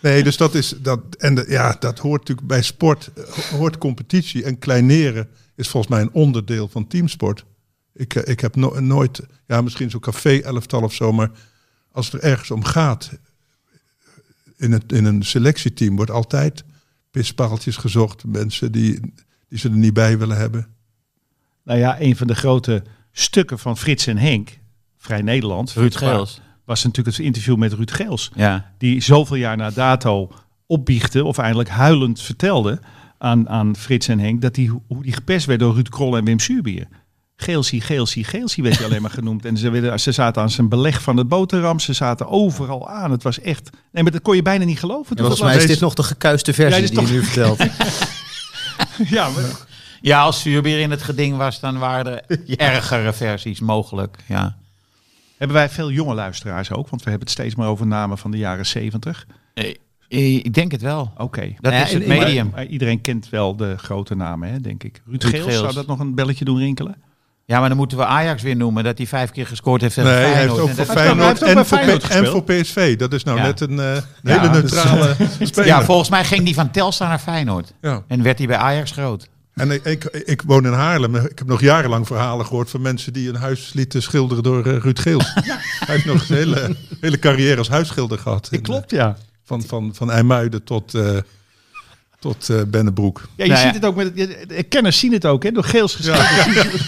Nee, dus dat is dat. En de- ja, dat hoort natuurlijk bij sport. eh, Hoort competitie en kleineren is volgens mij een onderdeel van teamsport. Ik, eh, ik heb no- nooit, ja, misschien zo'n café-elftal of zo, maar als het er ergens om gaat, eh, in, het, in een selectieteam wordt altijd pispaaltjes gezocht. Mensen die, die ze er niet bij willen hebben. Nou ja, een van de grote stukken van Frits en Henk, Vrij Nederland. Ruud Wa- Geels. Was natuurlijk het interview met Ruud Geels. Ja. Die zoveel jaar na dato opbiechte, of eindelijk huilend vertelde aan, aan Frits en Henk, dat die, hoe die gepest werd door Ruud Krol en Wim Suurbier. Geelsie, Geelsie, Geelsie werd hij alleen maar genoemd. En ze, werden, ze zaten aan zijn beleg van het boterham. Ze zaten overal aan. Het was echt... Nee, maar dat kon je bijna niet geloven. En toen volgens dat mij is laatst- dit nog de gekuiste versie Ja, dit die is je nu vertelt. Ja, maar ja, als zuurbier in het geding was, dan waren er ergere versies mogelijk. Ja. Hebben wij veel jonge luisteraars ook? Want we hebben het steeds maar over namen van de jaren 70. Eh, Ik denk het wel. Oh. Oké. Dat Ja, is het en- en- medium. Maar iedereen kent wel de grote namen, hè, denk ik. Ruud, Ruud Geels, Geels. zou dat nog een belletje doen rinkelen? Ja, maar dan moeten we Ajax weer noemen. Dat hij vijf keer gescoord heeft tegen Nee, hij heeft Feyenoord. ook En voor dat- Hij heeft Feyenoord, ook bij en, voor Feyenoord P- en voor gespeeld. PSV. Dat is nou Ja. net een eh, een Ja, hele dus- neutrale speler. ja, volgens mij ging die van Telstar naar Feyenoord. Ja. En werd hij bij Ajax groot. En ik, ik, ik woon in Haarlem. Ik heb nog jarenlang verhalen gehoord van mensen die een huis lieten schilderen door eh, Ruud Geels. Hij heeft nog zijn hele, hele carrière als huisschilder gehad. En, eh, ja. van, van, van IJmuiden tot, eh tot eh, Bennebroek. ja je Nou ja. ziet het ook met... je- de Kenners zien het ook, hè, door Geels geschreven.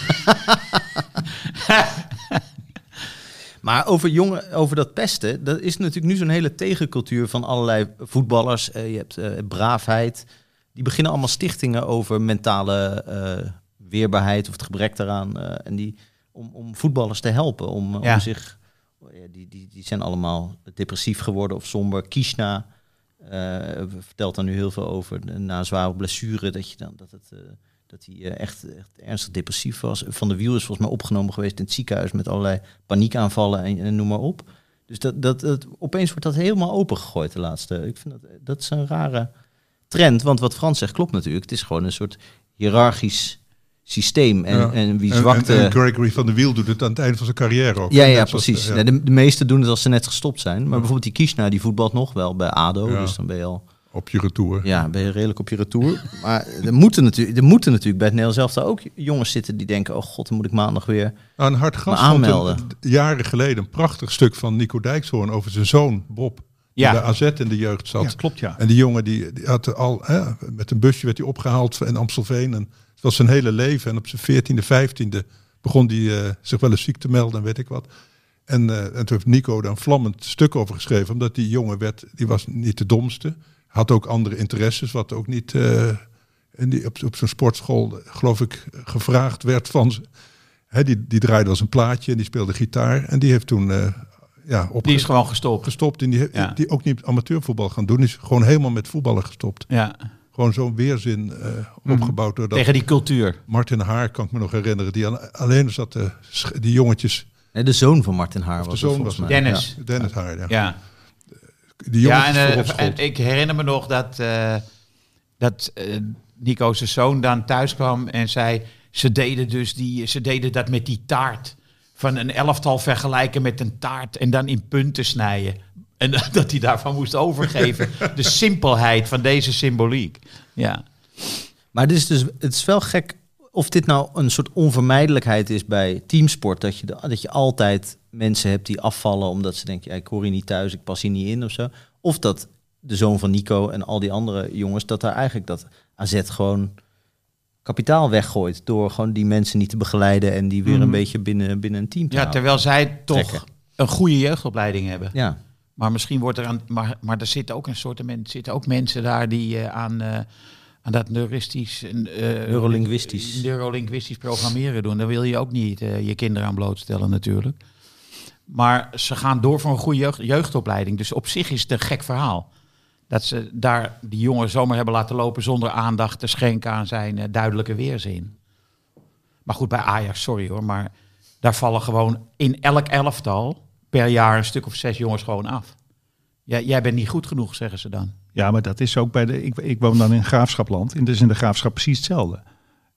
Maar over, jongen, over dat pesten, dat is natuurlijk nu zo'n hele tegencultuur van allerlei voetballers. Eh, je hebt eh, braafheid. Die beginnen allemaal stichtingen over mentale eh, weerbaarheid of het gebrek daaraan. eh, en die, om, om voetballers te helpen, om, eh, Ja. om zich... eh, ja, die, die, die zijn allemaal depressief geworden of somber. Kishna eh, vertelt daar nu heel veel over. Na een zware blessure, dat, je dan, dat, het, eh, dat hij eh, echt, echt ernstig depressief was. Van de Wiel is volgens mij opgenomen geweest in het ziekenhuis met allerlei paniekaanvallen en, en noem maar op. Dus dat, dat, dat, opeens wordt dat helemaal opengegooid de laatste. Ik vind dat, dat is een rare trend. Want wat Frans zegt klopt natuurlijk. Het is gewoon een soort hiërarchisch systeem. En, Ja. en wie En- zwakte... en, en Gregory van der Wiel doet het aan het einde van zijn carrière ook. Ja, ja, Net zoals- eh, precies. ja. Nee, de, de meesten doen het als ze net gestopt zijn. Maar bijvoorbeeld die Kishna, die voetbalt nog wel bij ADO. Ja. Dus dan ben je al Op je retour. ja, ben je redelijk op je retour. maar er moeten, natuurlijk, er moeten natuurlijk bij het Nederlands zelf ook jongens zitten die denken... oh god, dan moet ik maandag weer... Aan hard gas Maar vond een- aanmelden. d- jaren geleden een prachtig stuk van Nico Dijkshoorn over zijn zoon Bob. Die Ja. bij AZ in de jeugd zat. Ja, klopt, ja. En die jongen die, die had al hè, met een busje werd hij opgehaald in Amstelveen. En het was zijn hele leven. En op zijn 14e, 15e begon hij eh, zich wel eens ziek te melden en weet ik wat. En, eh, en toen heeft Nico daar een vlammend stuk over geschreven. Omdat die jongen werd, die was niet de domste. Had ook andere interesses, wat ook niet eh, in die, op, op zo'n sportschool, eh, geloof ik, gevraagd werd van ze. Hè, die, die draaide als een plaatje en die speelde gitaar. En die heeft toen eh, ja, Die is opgestopt. gewoon gestopt. gestopt en die, he- Ja. die ook niet amateurvoetbal gaan doen. Die is gewoon helemaal met voetballen gestopt. Ja. Gewoon zo'n weerzin eh, opgebouwd door dat. Mhm. Tegen die cultuur. Martin Haar kan ik me nog herinneren. Die aan- alleen zat de, sch- die jongetjes. Nee, de zoon van Martin Haar was de het zoon volgens was mij. het. Dennis. Dennis Haar, ja. Ja. Die Ja, jongetjes en, eh, voorop school. en ik herinner me nog dat, eh, dat eh, Nico zijn zoon dan thuis kwam en zei... Ze deden, dus die, ze deden dat met die taart. Van een elftal vergelijken met een taart en dan in punten snijden. En dat- dat hij daarvan moest overgeven. De simpelheid van deze symboliek. Ja, Maar dit is dus, het is wel gek of dit nou een soort onvermijdelijkheid is bij teamsport. Dat je, de- dat je altijd mensen hebt die afvallen omdat ze denken... Ja, ik hoor hier niet thuis, ik pas hier niet in of zo. Of dat de zoon van Nico en al die andere jongens... dat daar eigenlijk dat AZ gewoon kapitaal weggooit... door gewoon die mensen niet te begeleiden... en die weer een beetje binnen, binnen een team te ja houden. terwijl zij toch Trekken. een goede jeugdopleiding hebben. Ja. Maar misschien wordt er aan. Maar, maar er zitten ook een soort. men- zitten ook mensen daar die eh, aan. eh, aan dat neuristisch. en, eh, Neurolinguistisch. Neurolinguistisch programmeren doen. Daar wil je ook niet eh, je kinderen aan blootstellen, natuurlijk. Maar ze gaan door voor een goede jeugd- jeugdopleiding. Dus op zich is het een gek verhaal. Dat ze daar die jongen zomaar hebben laten lopen zonder aandacht te schenken aan zijn eh, duidelijke weerzin. Maar goed, bij Ajax, sorry hoor. Maar daar vallen gewoon in elk elftal per jaar een stuk of zes jongens gewoon af. Jij, jij bent niet goed genoeg, zeggen ze dan. Ja, maar dat is ook bij de. Ik, ik woon dan in Graafschapland. En dus in de Graafschap precies hetzelfde.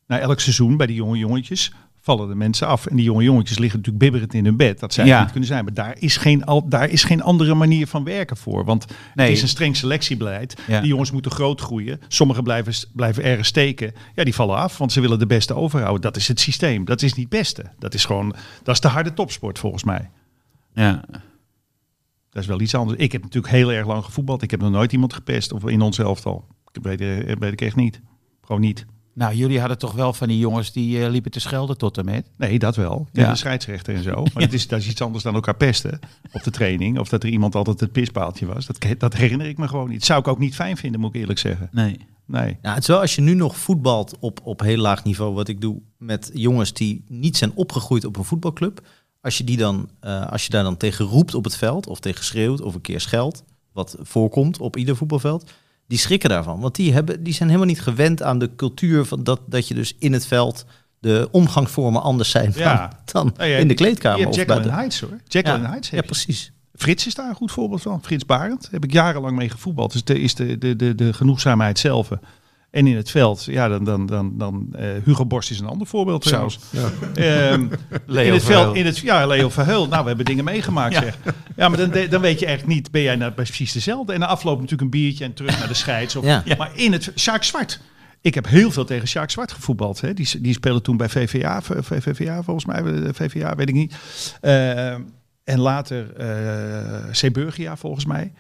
Na elk seizoen bij die jonge jongetjes vallen de mensen af. En die jonge jongetjes liggen natuurlijk bibberend in hun bed. Dat zij Ja. het niet kunnen zijn. Maar daar is, geen, al, daar is geen andere manier van werken voor. Want Nee. het is een streng selectiebeleid. Ja. Die jongens moeten groot groeien. Sommigen blijven, blijven ergens steken. Ja, die vallen af, want ze willen de beste overhouden. Dat is het systeem. Dat is niet beste. Dat is gewoon. Dat is de harde topsport volgens mij. Ja. Dat is wel iets anders. Ik heb natuurlijk heel erg lang gevoetbald. Ik heb nog nooit iemand gepest of in ons elftal. Ik weet, eh, weet ik echt niet. Gewoon niet. Nou, jullie hadden toch wel van die jongens die eh, liepen te schelden tot en met. Nee, dat wel. Tegen Ja. de scheidsrechter en zo. Maar dat, is, dat is iets anders dan elkaar pesten op de training. Of dat er iemand altijd het pispaaltje was. Dat, ke- dat herinner ik me gewoon niet. zou ik ook niet fijn vinden, moet ik eerlijk zeggen. Nee. Nee. Nou, het is wel als je nu nog voetbalt op, op heel laag niveau, wat ik doe met jongens die niet zijn opgegroeid op een voetbalclub. Als je, die dan, eh, als je daar dan tegen roept op het veld, of tegen schreeuwt, of een keer scheldt, wat voorkomt op ieder voetbalveld, die schrikken daarvan. Want die, hebben, die zijn helemaal niet gewend aan de cultuur van dat, dat je dus in het veld de omgangsvormen anders zijn dan, Ja. dan Nou ja, in de Je kleedkamer. hebt Of bij Jacqueline de, Heights hoor. Jacqueline ja, Heights ja, heb je. precies. Frits is daar een goed voorbeeld van. Frits Barend. Heb ik jarenlang mee gevoetbald. Dus de, is de, de, de, de genoegzaamheid zelf. En in het veld, ja, dan, dan, dan, dan eh, Hugo Borst is een ander voorbeeld Zo. trouwens. Ehm, Leo in het Verheul. veld, in het, ja, Leo Verheul. Nou, we hebben dingen meegemaakt, zeg. Ja, maar dan, dan weet je echt niet, ben jij nou precies dezelfde? En na afloop natuurlijk een biertje en terug naar de scheids. Of, Ja. Maar in het, Sjaak Zwart. Ik heb heel veel tegen Sjaak Zwart gevoetbald. Hè. Die, die speelde toen bij VVA, v- VVVA volgens mij, eh, VVA, weet ik niet. Ehm, en later eh Seburgia, volgens mij.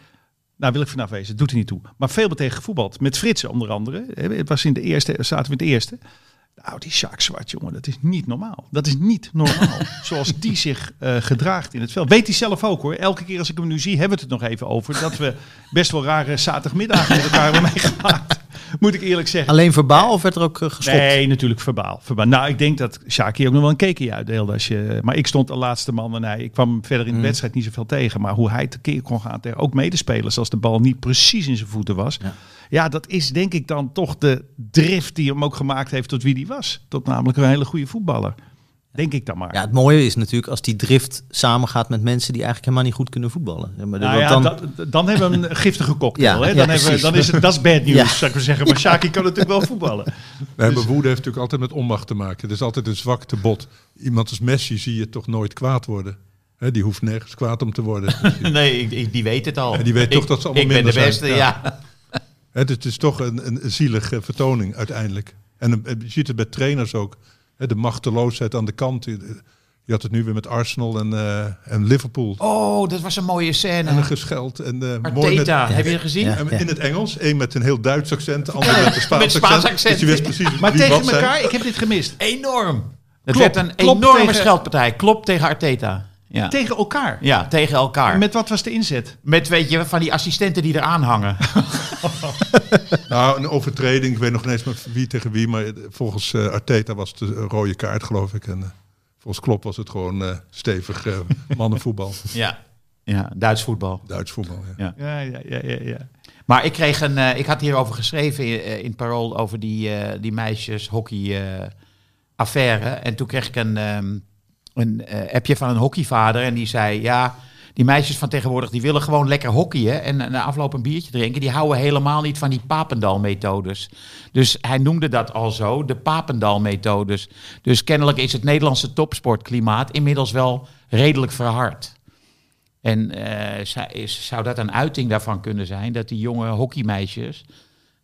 Nou, wil ik vanaf wezen. Doet er niet toe. Maar veel meer tegen gevoetbald. Met Frits onder andere. Eh, Het was in de eerste, zaten we in de eerste. Nou, die Sjaak Zwart, jongen, dat is niet normaal. Dat is niet normaal. Zoals die zich eh, gedraagt in het veld. Weet hij zelf ook hoor. Elke keer als ik hem nu zie, hebben we het er nog even over. Dat we best wel rare zaterdagmiddagen met elkaar hebben meegemaakt. Moet ik eerlijk zeggen. Alleen verbaal of werd er ook eh, geschopt? Nee, natuurlijk verbaal, verbaal. Nou, ik denk dat Sjaak hier ook nog wel een keekje uitdeelde. Als je, maar ik stond de laatste man en hij. Ik kwam hem verder in de Mm. wedstrijd niet zoveel tegen. Maar hoe hij tekeer kon gaan tegen ook medespelers als de bal niet precies in zijn voeten was. Ja. dat is denk ik dan toch de drift die hem ook gemaakt heeft tot wie die was. Tot namelijk een hele goede voetballer. Denk ik dan maar. Ja, het mooie is natuurlijk als die drift samengaat met mensen die eigenlijk helemaal niet goed kunnen voetballen. Ja, maar Nou want ja, dan, dan, dan hebben we een giftige cocktail. Ja, hè? ja, Dan, hebben we, precies. dan is het dat is bad news, Ja. zou ik maar zeggen. Maar Shaki kan natuurlijk wel voetballen. Nee, dus- maar woede heeft natuurlijk altijd met onmacht te maken. Het is altijd een zwakte bot. Iemand als Messi zie je toch nooit kwaad worden. Hè, die hoeft nergens kwaad om te worden. Nee, ik, ik- die weet het al. Ja, die weet Ik- toch dat ze allemaal Ik ben de minder zijn. beste, ja. Hè, dus het is toch een, een zielige vertoning uiteindelijk. En eh, je ziet het bij trainers ook. Hè, de machteloosheid aan de kant. Je eh, je had het nu weer met Arsenal en, eh, en Liverpool. Oh, dat was een mooie En scène. gescheld. En, eh, mooi met- Arteta, heb je het gezien? Ja. en in het Engels. Eén met een heel Duits accent. De ander met een Spaans, Spaans accent. Dus je wist precies Maar wie wat tegen zei. elkaar, ik heb dit gemist. Enorm. Het Klopt, werd een klopt enorme tegen- scheldpartij. Klopt tegen Arteta. Ja, Tegen elkaar. ja tegen elkaar. Met, Met wat was de inzet? weet je, van die assistenten die eraan hangen. Nou, een overtreding. Ik weet nog niet eens met wie tegen wie. Maar eh, volgens eh, Arteta was het een rode kaart, geloof ik. En eh, volgens Klopp was het gewoon eh, stevig eh, mannenvoetbal. Ja. ja, Duits voetbal. Duits voetbal, ja. Ja, ja, ja, ja. ja. Maar ik kreeg een. eh, ik had hierover geschreven in, eh, in het Parool over die, eh, die meisjes hockey eh, affaire. En toen kreeg ik een, ehm, een eh, appje van een hockeyvader. En die zei: Ja, die meisjes van tegenwoordig die willen gewoon lekker hockeyen. En eh, na afloop een biertje drinken. Die houden helemaal niet van die Papendal-methodes. Dus hij noemde dat al zo: de Papendal-methodes. Dus kennelijk is het Nederlandse topsportklimaat inmiddels wel redelijk verhard. En eh, zou- is- zou dat een uiting daarvan kunnen zijn dat die jonge hockeymeisjes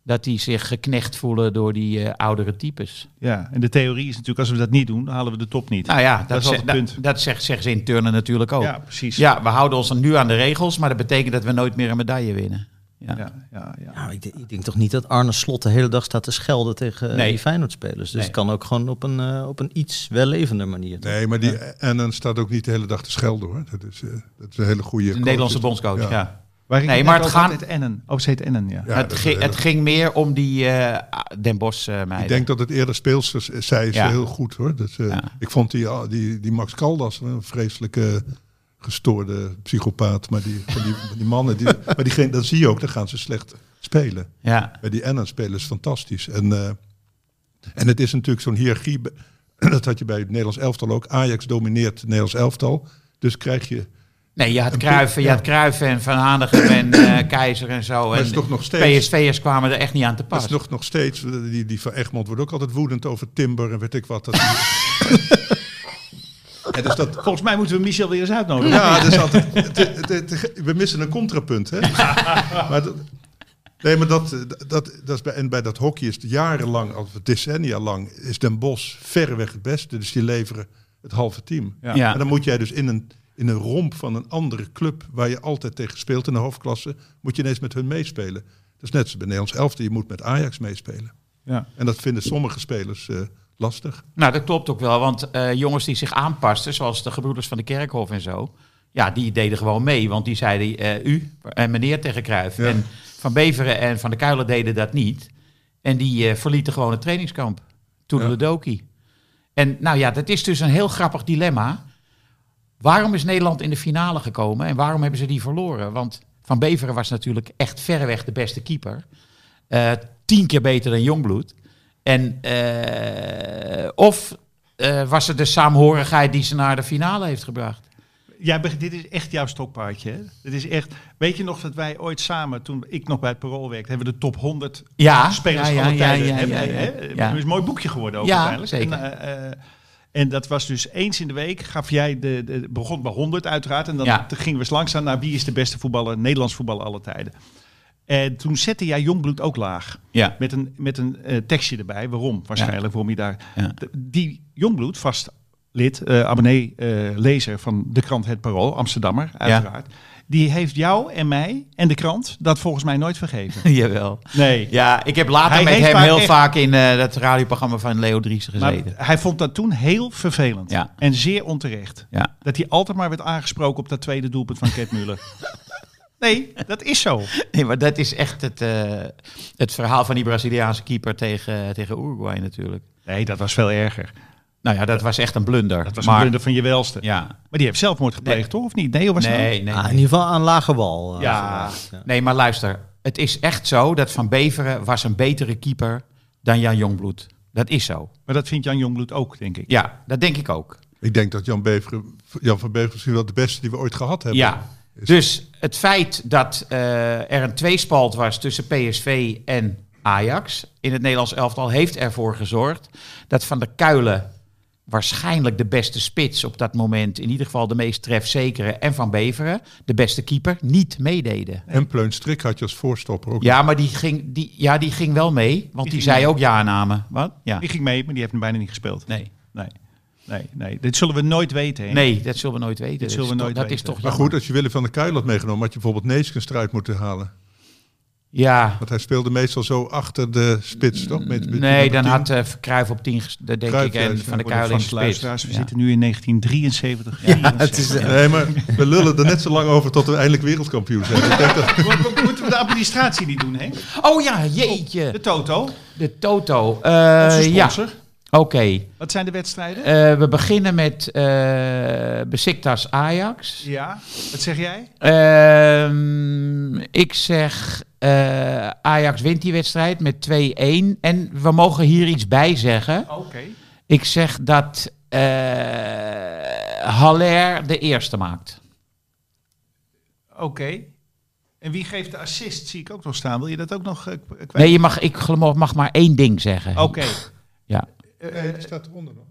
dat die zich geknecht voelen door die eh, oudere types? Ja, en de theorie is natuurlijk, als we dat niet doen, dan halen we de top niet. Nou ja, dat, Dat is ze- altijd het dat, punt. dat zegt, zeggen ze in turnen natuurlijk ook. ja, Ja, precies. we houden ons dan nu aan de regels, maar dat betekent dat we nooit meer een medaille winnen. Ja. ja, ja, ja. Nou, ik, denk- ik denk toch niet dat Arne Slot de hele dag staat te schelden tegen eh, Nee. die Feyenoord-spelers. Dus Nee. het kan ook gewoon op een, eh, op een iets wellevender manier. Nee, maar die Annen staat ook niet de hele dag te schelden, hoor. Dat is, eh, dat is een hele goede... De coach. Nederlandse bondscoach, ja. Ja. Waar ik Nee, het maar net het over gaan- had, Het Ennen. Oh, ze heet Ennen, ja. Ja, dat het, is ging, een het hele- ging meer om die eh, Den Bosch eh meiden. Ik denk dat het eerder speelsters... eh, Zij is Ja. heel goed, hoor. Dat, eh, Ja. Ik vond die, ah, die, die Max Caldas een vreselijke gestoorde psychopaat. Maar die, van die, die mannen... Die, maar diegene, dat zie je ook, dan gaan ze slecht spelen. ja. bij die Ennen spelen is fantastisch. En, eh, en het is natuurlijk zo'n hiërarchie. be- Dat had je bij het Nederlands elftal ook. Ajax domineert het Nederlands elftal. Dus krijg je. Nee, je had Kruiven, je had Kruiven en Van Hanegem en eh, Keizer en zo. Maar en het is toch nog steeds. PSV'ers kwamen er echt niet aan te Dat is pas. nog, nog steeds. eh, Die, die van Egmond wordt ook altijd woedend over Timber en weet ik wat. Dat en dus dat. Volgens mij moeten we Michel weer eens uitnodigen. Ja, dat is altijd. het- het- het- we missen een contrapunt, hè? Maar dat, nee, maar dat, dat, dat is bij, en bij dat hockey is het jarenlang, al decennia lang, is Den Bos verreweg het beste. Dus die leveren het halve team. Ja. Ja. En dan moet jij dus in een, in een romp van een andere club waar je altijd tegen speelt in de hoofdklasse, moet je ineens met hun meespelen. Dat is net zo bij Nederlands elfte, je moet met Ajax meespelen. Ja. En dat vinden sommige spelers eh, lastig. Nou, dat klopt ook wel, want eh, jongens die zich aanpasten, zoals de gebroeders van de Kerkhof en zo, ja, die deden gewoon mee, want die zeiden eh, u en meneer tegen Cruijff. Ja. En Van Beveren en Van de Kuilen deden dat niet. En die eh, verlieten gewoon het trainingskamp. Toen de doki. En nou ja, dat is dus een heel grappig dilemma. Waarom is Nederland in de finale gekomen en waarom hebben ze die verloren? Want Van Beveren was natuurlijk echt verreweg de beste keeper. Eh, tien keer beter dan Jongbloed. En, eh, of eh, was het de saamhorigheid die ze naar de finale heeft gebracht? Jij beg- dit is echt jouw stokpaardje. Hè? Dit is echt, weet je nog dat wij ooit samen, toen ik nog bij het Parool werkte, hebben we de top 100 Ja, spelers ja, ja, alle tijden. ja, ja, hebben, ja, hè? ja. Het Ja. is een mooi boekje geworden ook Ja, uiteindelijk. zeker. En, eh, eh, en dat was dus eens in de week gaf jij de, de begon bij 100 uiteraard en dan Ja. gingen we eens langzaam naar wie is de beste voetballer Nederlands voetbal alle tijden. En toen zette jij Jongbloed ook laag. Ja. Met een, met een eh, tekstje erbij. Waarom? Waarschijnlijk waarom je daar. Ja. D- Die Jongbloed, vast lid, eh, abonnee, eh, lezer van de krant Het Parool, Amsterdammer, uiteraard. Die heeft jou en mij en de krant dat volgens mij nooit vergeven. Jawel. Nee. Ja, ik heb later Hij met heeft hem vaak heel echt- vaak in eh dat radioprogramma van Leo Driessen Maar gezeten. hij vond dat toen heel vervelend Ja. en zeer onterecht. ja. Dat hij altijd maar werd aangesproken op dat tweede doelpunt van Ket Muller. nee, dat is zo. Nee, maar dat is echt het, eh, het verhaal van die Braziliaanse keeper tegen, tegen Uruguay natuurlijk. Nee, dat was veel erger. Nou ja, dat was echt een blunder. Dat was maar, een blunder van je welste. Ja. Maar die heeft zelfmoord gepleegd, Nee. toch? Of niet? Nee, hoe was dat? Nee, nee, Ah, in nee. ieder geval aan lage wal. eh, Ja. zoals, ja. Nee, maar luister. Het is echt zo dat Van Beveren was een betere keeper dan Jan Jongbloed. Dat is zo. Maar dat vindt Jan Jongbloed ook, denk ik. Ja, dat denk ik ook. Ik denk dat Jan, Beveren, Jan van Beveren misschien wel de beste die we ooit gehad hebben. Ja. Dus het feit dat eh, er een tweespalt was tussen PSV en Ajax in het Nederlands elftal heeft ervoor gezorgd dat Van der Kuilen waarschijnlijk de beste spits op dat moment, in ieder geval de meest trefzekere, en Van Beveren, de beste keeper, niet meededen. En Pleun Strik had je als voorstopper ook. Ja, maar die ging, die, ja, die ging wel mee, want die, ging zei mee. ook ja namen. Wat? Ja. Die ging mee, maar die heeft hem bijna niet gespeeld. Nee. Nee, nee, nee. Dit zullen we nooit weten. hè? nee, dat zullen we nooit weten. Dat, zullen we is, nooit toch, dat is weten. toch Maar goed, jammer. als je Willem van der Kuil had meegenomen, had je bijvoorbeeld Neeskens eruit moeten halen. Ja, Want hij speelde meestal zo achter de spits, toch? Met, met nee, nummer dan 10. had eh Cruijff op 10, dat denk Cruijff, ik, eh, ja, en ja, Van der voor de Kuilen in de Beste spits. luisteraars, we Ja. zitten nu in 1973. Ja, het is, eh, Nee, maar we lullen er net zo lang over tot we eindelijk wereldkampioen zijn. Ik denk dat- Moeten we de administratie niet doen, hè? Oh ja, jeetje. De Toto, De Toto. Eh, onze ja, sponsor. oké. Wat zijn de wedstrijden? Eh, we beginnen met eh Besiktas Ajax. Ja, wat zeg jij? Ehm, ik zeg eh, Ajax wint die wedstrijd met 2-1. En we mogen hier iets bij zeggen. Oké. Ik zeg dat eh Haller de eerste maakt. Oké. En wie geeft de assist? Zie ik ook nog staan. Wil je dat ook nog eh, k- kwijt? Nee, je mag, ik geloof- mag maar één ding zeggen. Oké. Ja. Eh, Nee, eh, die staat eronder nog.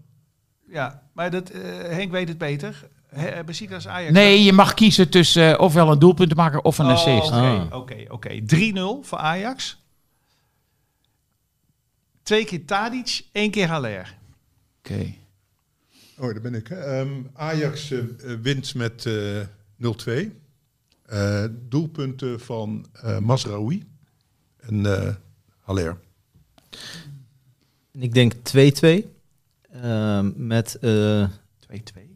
ja, maar dat, eh, Henk weet het beter. He- eh, Besiktas Ajax. Nee, je mag kiezen tussen eh, ofwel een doelpunt maken of een Oh, assist. Oké, Ah. oké, oké. 3-0 voor Ajax. Twee keer Tadic, één keer Haller. Oké. Oh, daar ben ik. hè. Ehm, Ajax eh, eh, wint met eh, 0-2. Eh, doelpunten van eh Masraoui en eh Haller. Ik denk 2-2. Ehm, met... eh, 2-2.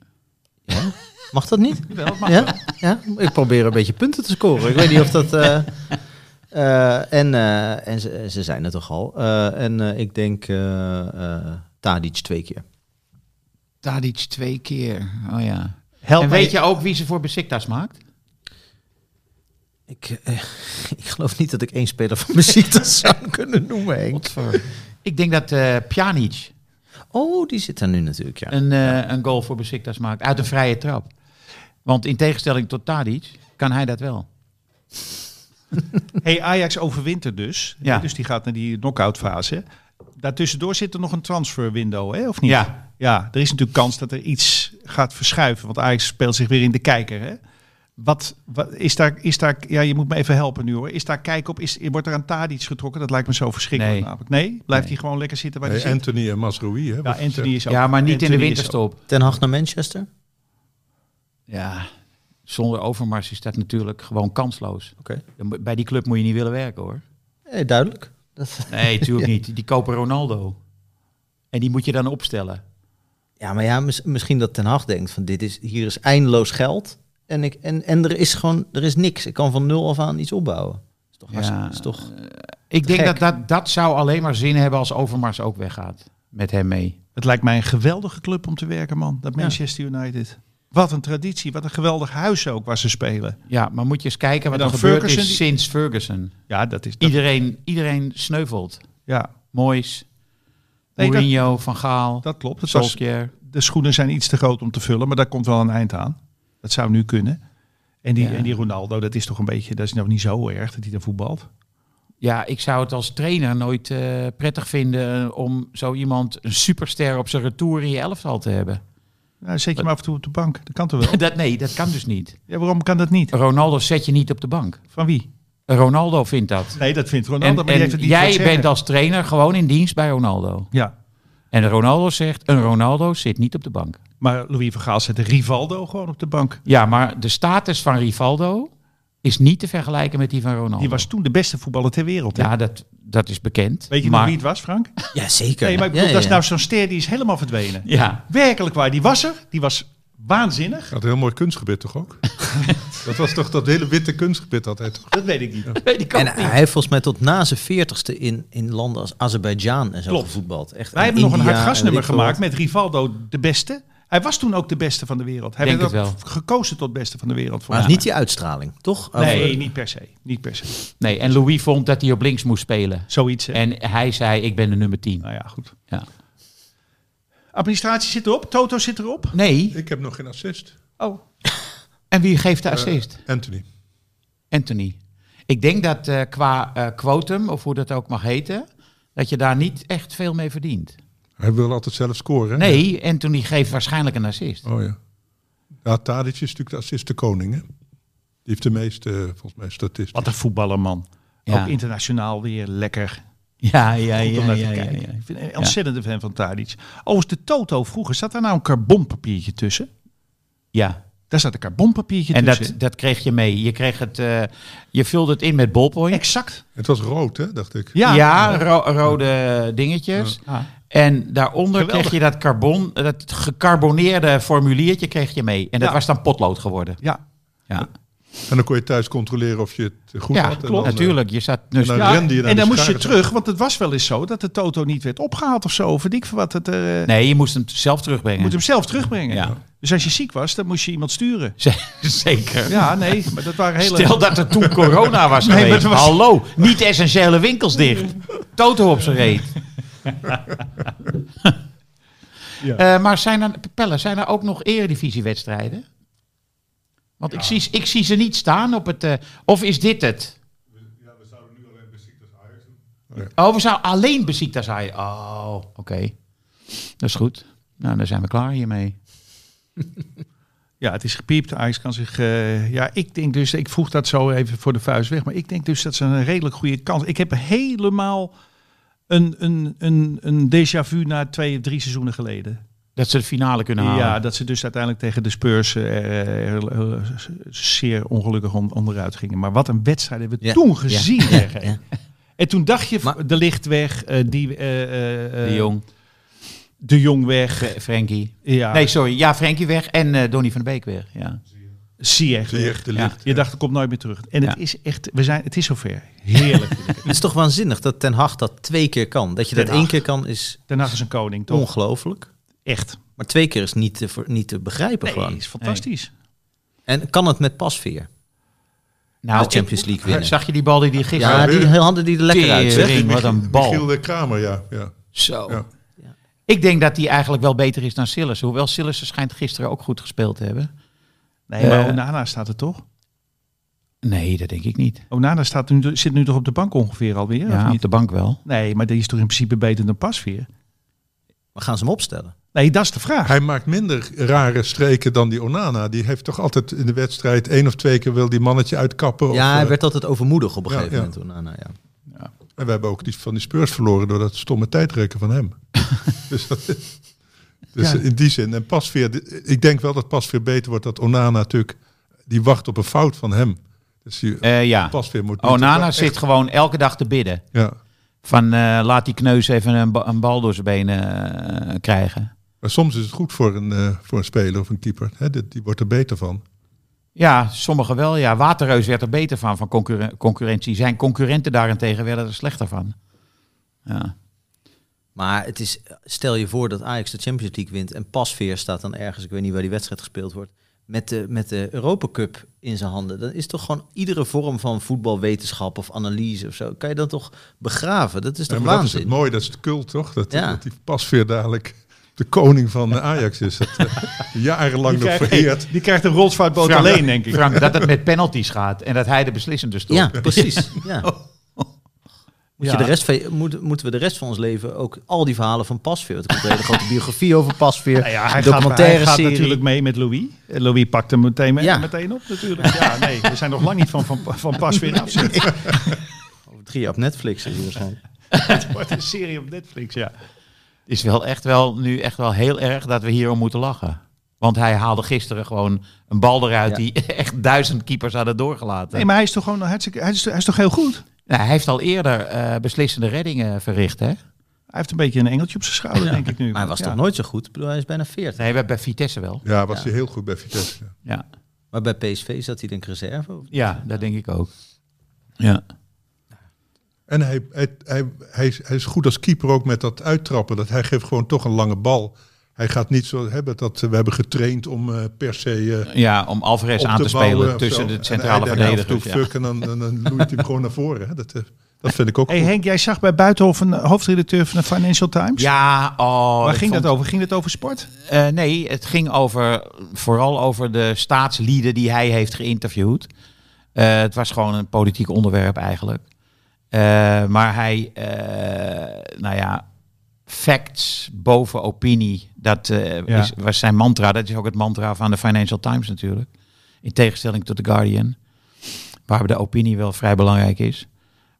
ja? Mag dat niet? Wel, het mag ja? wel. ja, ik probeer een beetje punten te scoren. Ik weet niet of dat... eh, eh, en eh, en ze, ze zijn het toch al. Eh, en eh, ik denk eh, eh, Tadic twee keer. Tadic twee keer. Oh ja. Help en mij- weet je ook wie ze voor Besiktas maakt? Ik, eh, ik geloof niet dat ik één speler van Besiktas zou kunnen noemen, Henk. Ik denk dat eh Pjanic Oh, die zit daar nu natuurlijk, ja. een, eh, een goal voor Besiktas maakt. Uit een vrije trap. Want in tegenstelling tot Tadic kan hij dat wel. Hey, Ajax overwintert dus. Ja. Dus die gaat naar die knock-out fase. Daartussendoor zit er nog een transfer window, hè? of niet? Ja. ja, er is natuurlijk kans dat er iets gaat verschuiven. Want Ajax speelt zich weer in de kijker. Hè? Wat, wat is daar, is daar, ja, je moet me even helpen nu hoor. Is daar kijk op, is, wordt er aan Tadic getrokken? Dat lijkt me zo verschrikkelijk. Nee. Namelijk. nee? Blijft Nee. hij gewoon lekker zitten waar Nee, hij zit? Anthony en Masraoui. Hè, wat Ja, je Anthony zegt. is ook. Ja, maar niet in de Anthony is ook. winterstop. Ten Hag naar Manchester? Ja. Zonder Overmars is dat natuurlijk gewoon kansloos. Oké. Dan moet- Bij die club moet je niet willen werken hoor. Eh, duidelijk. Dat, Nee, natuurlijk niet. Die kopen Ronaldo. En die moet je dan opstellen. ja, maar ja, mis- misschien dat Ten Hag denkt van dit is, hier is eindeloos geld. En, ik, en, en er is gewoon er is niks. Ik kan van nul af aan iets opbouwen. Is toch, hartstikke- is toch Ik denk gek. dat, dat dat zou alleen maar zin hebben als Overmars ook weggaat. Met hem mee. Het lijkt mij een geweldige club om te werken, man. Dat Ja. Manchester United. Wat een traditie, wat een geweldig huis ook waar ze spelen. Ja, maar moet je eens kijken wat En er dan gebeurd Ferguson is die- sinds Ferguson. Ja, dat is. Dat, Iedereen, iedereen sneuvelt. ja, Moois. Nee, dat- Mourinho, Van Gaal, dat klopt. Het was, Solskjaer. de schoenen zijn iets te groot om te vullen, maar daar komt wel een eind aan. Dat zou nu kunnen. En die, Ja. en die Ronaldo, dat is toch een beetje, dat is nou niet zo erg dat hij dan voetbalt. Nou, Ja, ik zou het als trainer nooit eh, prettig vinden eh, om zo iemand, een superster, op zijn retour in je elftal te hebben. Nou, zet je maar af en toe op de bank. Dat kan toch wel? Dat, nee, dat kan dus niet. Ja, waarom kan dat niet? Ronaldo zet je niet op de bank. Van wie? Ronaldo vindt dat. Nee, dat vindt Ronaldo, En, maar die en heeft het niet voor jij het bent zeggen. als trainer gewoon in dienst bij Ronaldo. Ja, En Ronaldo zegt, een Ronaldo zit niet op de bank. maar Louis van Gaal zette Rivaldo gewoon op de bank. Ja, maar de status van Rivaldo is niet te vergelijken met die van Ronaldo. Die was toen de beste voetballer ter wereld. hè? ja, dat, dat is bekend. Weet je maar, nog wie het was, Frank? Ja, zeker. Nee, maar ik Ja, bedoel, dat is ja, nou ja. zo'n ster die is helemaal verdwenen. Ja, Werkelijk waar, die was er. Die was waanzinnig. Had een heel mooi kunstgebit toch ook? dat was toch dat hele witte kunstgebit altijd. Dat weet ik niet. weet ik ook En niet. hij heeft volgens mij tot na zijn veertigste in, in landen als Azerbeidzjan en zo Klopt. gevoetbald. Echt, Wij en hebben nog een India hard en gasnummer weet ik veel wat. gemaakt met Rivaldo de beste. Hij was toen ook de beste van de wereld. Hij Denk werd het ook gekozen tot beste van de wereld. Maar het volgens is niet die uitstraling, toch? mij. Nee, Over- niet per se. Niet per se. Nee, en Louis vond dat hij op links moest spelen. Zoiets. hè. En hij zei, ik ben de nummer 10. Nou ja, goed. Ja. Administratie zit erop. Toto zit erop. Nee, Ik heb nog geen assist. Oh. en wie geeft de assist? Anthony. Anthony. Ik denk dat eh, qua eh quotum, of hoe dat ook mag heten, dat je daar niet echt veel mee verdient. Hij wil altijd zelf scoren. hè? Nee, Anthony geeft waarschijnlijk een assist. Oh ja. Ja, Tadic is natuurlijk de assist de koning, hè? Die heeft de meeste, eh, volgens mij, statistieken. Wat een voetballer, man. Ja. Ook internationaal weer lekker. Ja, ja, Goed om ja, naar te ja, ja, kijken. ja. Ik vind een ontzettende fan van Tadic. Overigens, de Toto vroeger, zat daar nou een carbonpapiertje tussen? Ja, Daar zat een carbonpapiertje en dat, tussen. dat kreeg je mee. Je, kreeg het, eh, je vulde het in met ballpoint. Exact. Het was rood, hè, dacht ik. Ja, Ja. ro- rode dingetjes. Ja. En daaronder Geweldig. kreeg je dat, carbon, dat gecarboneerde formuliertje kreeg je mee. En dat Ja. was dan potlood geworden. Ja. Ja, En dan kon je thuis controleren of je het goed ja had. en dan, eh, klopt. Natuurlijk, je zat dus en dan- Ja, rende je naar en de dan moest je scharen. terug, want het was wel eens zo dat de Toto niet werd opgehaald of zo. Of weet ik veel wat het. eh, Nee, je moest hem zelf Je terugbrengen. moet hem zelf terugbrengen. Ja. Dus als je ziek was, dan moest je iemand sturen. Z- Zeker. Ja, nee, maar dat waren hele. Stel dat er toen corona was Nee, maar geweest. het was- Hallo, niet essentiële winkels dicht. Toto op zijn reet. Eh, maar zijn er, Pelle, zijn er ook nog eredivisiewedstrijden? Want ik, zie, ik zie ze niet staan op het... eh, of is dit het? Ja, Oh, we zouden nu alleen Besiktas Ajax Oh, we zouden alleen Besiktas Ajax Oh, oké. Dat is goed. Nou, dan zijn we klaar hiermee. Ja, het is gepiept. Ajax kan zich. eh, ja, ik denk dus. Ik vroeg dat zo even voor de vuist weg. Maar ik denk dus dat ze een redelijk goede kans. Ik heb helemaal een, een, een, een déjà vu na twee, drie seizoenen geleden. Dat ze de finale kunnen halen. Ja, dat ze dus uiteindelijk tegen de Spurs eh, er- er- er- zeer ongelukkig on- onderuit gingen. Maar wat een wedstrijd hebben we Ja. toen gezien. zeg, hè. Ja. En toen dacht je, Maar- de licht weg, eh, die, eh, eh, eh, de Jong, de Jong weg. Fre- Frenkie. Ja, Nee, sorry. Ja, Frenkie weg en eh, Donny van de Beek weer. Ja. Ziyech Zie je weg. echt de Ja. licht. Je dacht, er komt nooit meer terug. En het Ja. is echt, we zijn, het is zover. Heerlijk. Het is toch waanzinnig dat Ten Hag dat twee keer kan. Dat je dat Ten één Hag. keer kan is Daarna is een koning, toch? ongelooflijk. Echt. Maar twee keer is niet te, ver- niet te begrijpen Nee, gewoon. is fantastisch. En kan het met pasveer? Nou, de Ah, Champions ik- League winnen. Zag je die bal die die gisteren... Ja, Ja, die handen die er lekker uit, zeg. Tering, eh, wat een bal. Michiel eh, Kramer, ja. ja. Zo. Ja. Ja. Ik denk dat die eigenlijk wel beter is dan Sillis. Hoewel Sillis schijnt gisteren ook goed gespeeld te hebben. Nee, maar Eh. Onana staat er toch? Nee, dat denk ik niet. Onana staat nu, zit nu toch op de bank ongeveer alweer? Ja, of op niet? de bank wel. Nee, maar die is toch in principe beter dan Pasveer? We gaan ze hem opstellen. Nee, dat is de vraag. Hij maakt minder rare streken dan die Onana. Die heeft toch altijd in de wedstrijd één of twee keer wil die mannetje uitkappen. of, Ja, hij eh, werd altijd overmoedig op een Ja, gegeven ja. moment. Toen, nou, nou, ja. En we hebben ook die, van die Spurs verloren door dat stomme tijdrekken van hem. dus dat, dus Ja. in die zin. En Pasveer, ik denk wel dat Pasveer beter wordt. Dat Onana natuurlijk, die wacht op een fout van hem. Dus die Eh, ja. Oh, Pasveer moet... niet- Onana echt- zit gewoon elke dag te bidden. Ja, Van eh, laat die kneus even een, ba- een bal door zijn benen eh, krijgen. Maar soms is het goed voor een, eh, voor een speler of een keeper. Hè? Die, die wordt er beter van. Ja, sommigen wel. Ja, Waterreus werd er beter van, van concurren- concurrentie. Zijn concurrenten daarentegen werden er slechter van. Ja. Maar het is, stel je voor dat Ajax de Champions League wint en Pasveer staat dan ergens, ik weet niet waar die wedstrijd gespeeld wordt, met de, met de Europa Cup in zijn handen. Dan is toch gewoon iedere vorm van voetbalwetenschap of analyse of zo, kan je dan toch begraven? Dat is toch Ja, maar dat is het waanzin? mooi, dat is het cult, toch? Dat, Ja. dat die pasveer dadelijk de koning van eh, Ajax is. Dat, eh, jarenlang nog vereerd. die krijgt een rolsvaartboot Frank, alleen, denk ik. Frank, dat het met penalties gaat en dat hij de beslissende stopt. Ja, precies. Ja. Moet Ja. Je de rest van, je- moet, moeten we de rest van ons leven ook al die verhalen van Pasveer? want Er komt een hele grote biografie over Pasveer, Nou ja, een hij gaat, hij documentaire gaat serie. natuurlijk mee met Louis. Eh, Louis pakt hem meteen, Ja. meteen op natuurlijk. Ja, nee, we zijn nog lang niet van, van, van pas weer af. Over drie jaar op Netflix. is hij waarschijnlijk. Het wordt een serie op Netflix, ja. Het is wel echt wel, nu echt wel heel erg dat we hierom moeten lachen. Want hij haalde gisteren gewoon een bal eruit Ja. die echt duizend keepers hadden doorgelaten. Nee, maar hij is toch gewoon hartstikke, hij is, hij is toch heel goed? Nou, hij heeft al eerder eh, beslissende reddingen verricht, hè? Hij heeft een beetje een engeltje op zijn schouder, denk ik nu. Maar hij was Ja. toch nooit zo goed? Ik bedoel, hij is bijna 40. Nee, bij, bij Vitesse wel. Ja, was Ja. hij heel goed bij Vitesse. Ja. Maar bij PSV zat hij denk ik reserve? of- ja, dat denk ik ook. Ja. En hij, hij, hij, hij, is, hij is goed als keeper ook met dat uittrappen. Dat hij geeft gewoon toch een lange bal. Hij gaat niet zo hebben dat eh, we hebben getraind om eh, per se eh, ja, om Alvarez op aan te bouwen spelen of tussen zo. de En centrale hij denkt af en toe, verdedigers. Ja. fuck, en dan, dan, dan loeit hij hem gewoon naar voren. Hè? Dat, eh, dat vind ik ook Hey goed. Henk, jij zag bij Buitenhof een eh, hoofdredacteur van de Financial Times. Ja, oh, Waar ik ging vond- dat over? Ging het over sport? Eh, nee, het ging over, vooral over de staatslieden die hij heeft geïnterviewd. Eh, het was gewoon een politiek onderwerp eigenlijk. Eh, maar hij, eh, nou ja, facts boven opinie, dat eh, Ja. is, was zijn mantra. Dat is ook het mantra van de Financial Times natuurlijk. In tegenstelling tot The Guardian, waar de opinie wel vrij belangrijk is.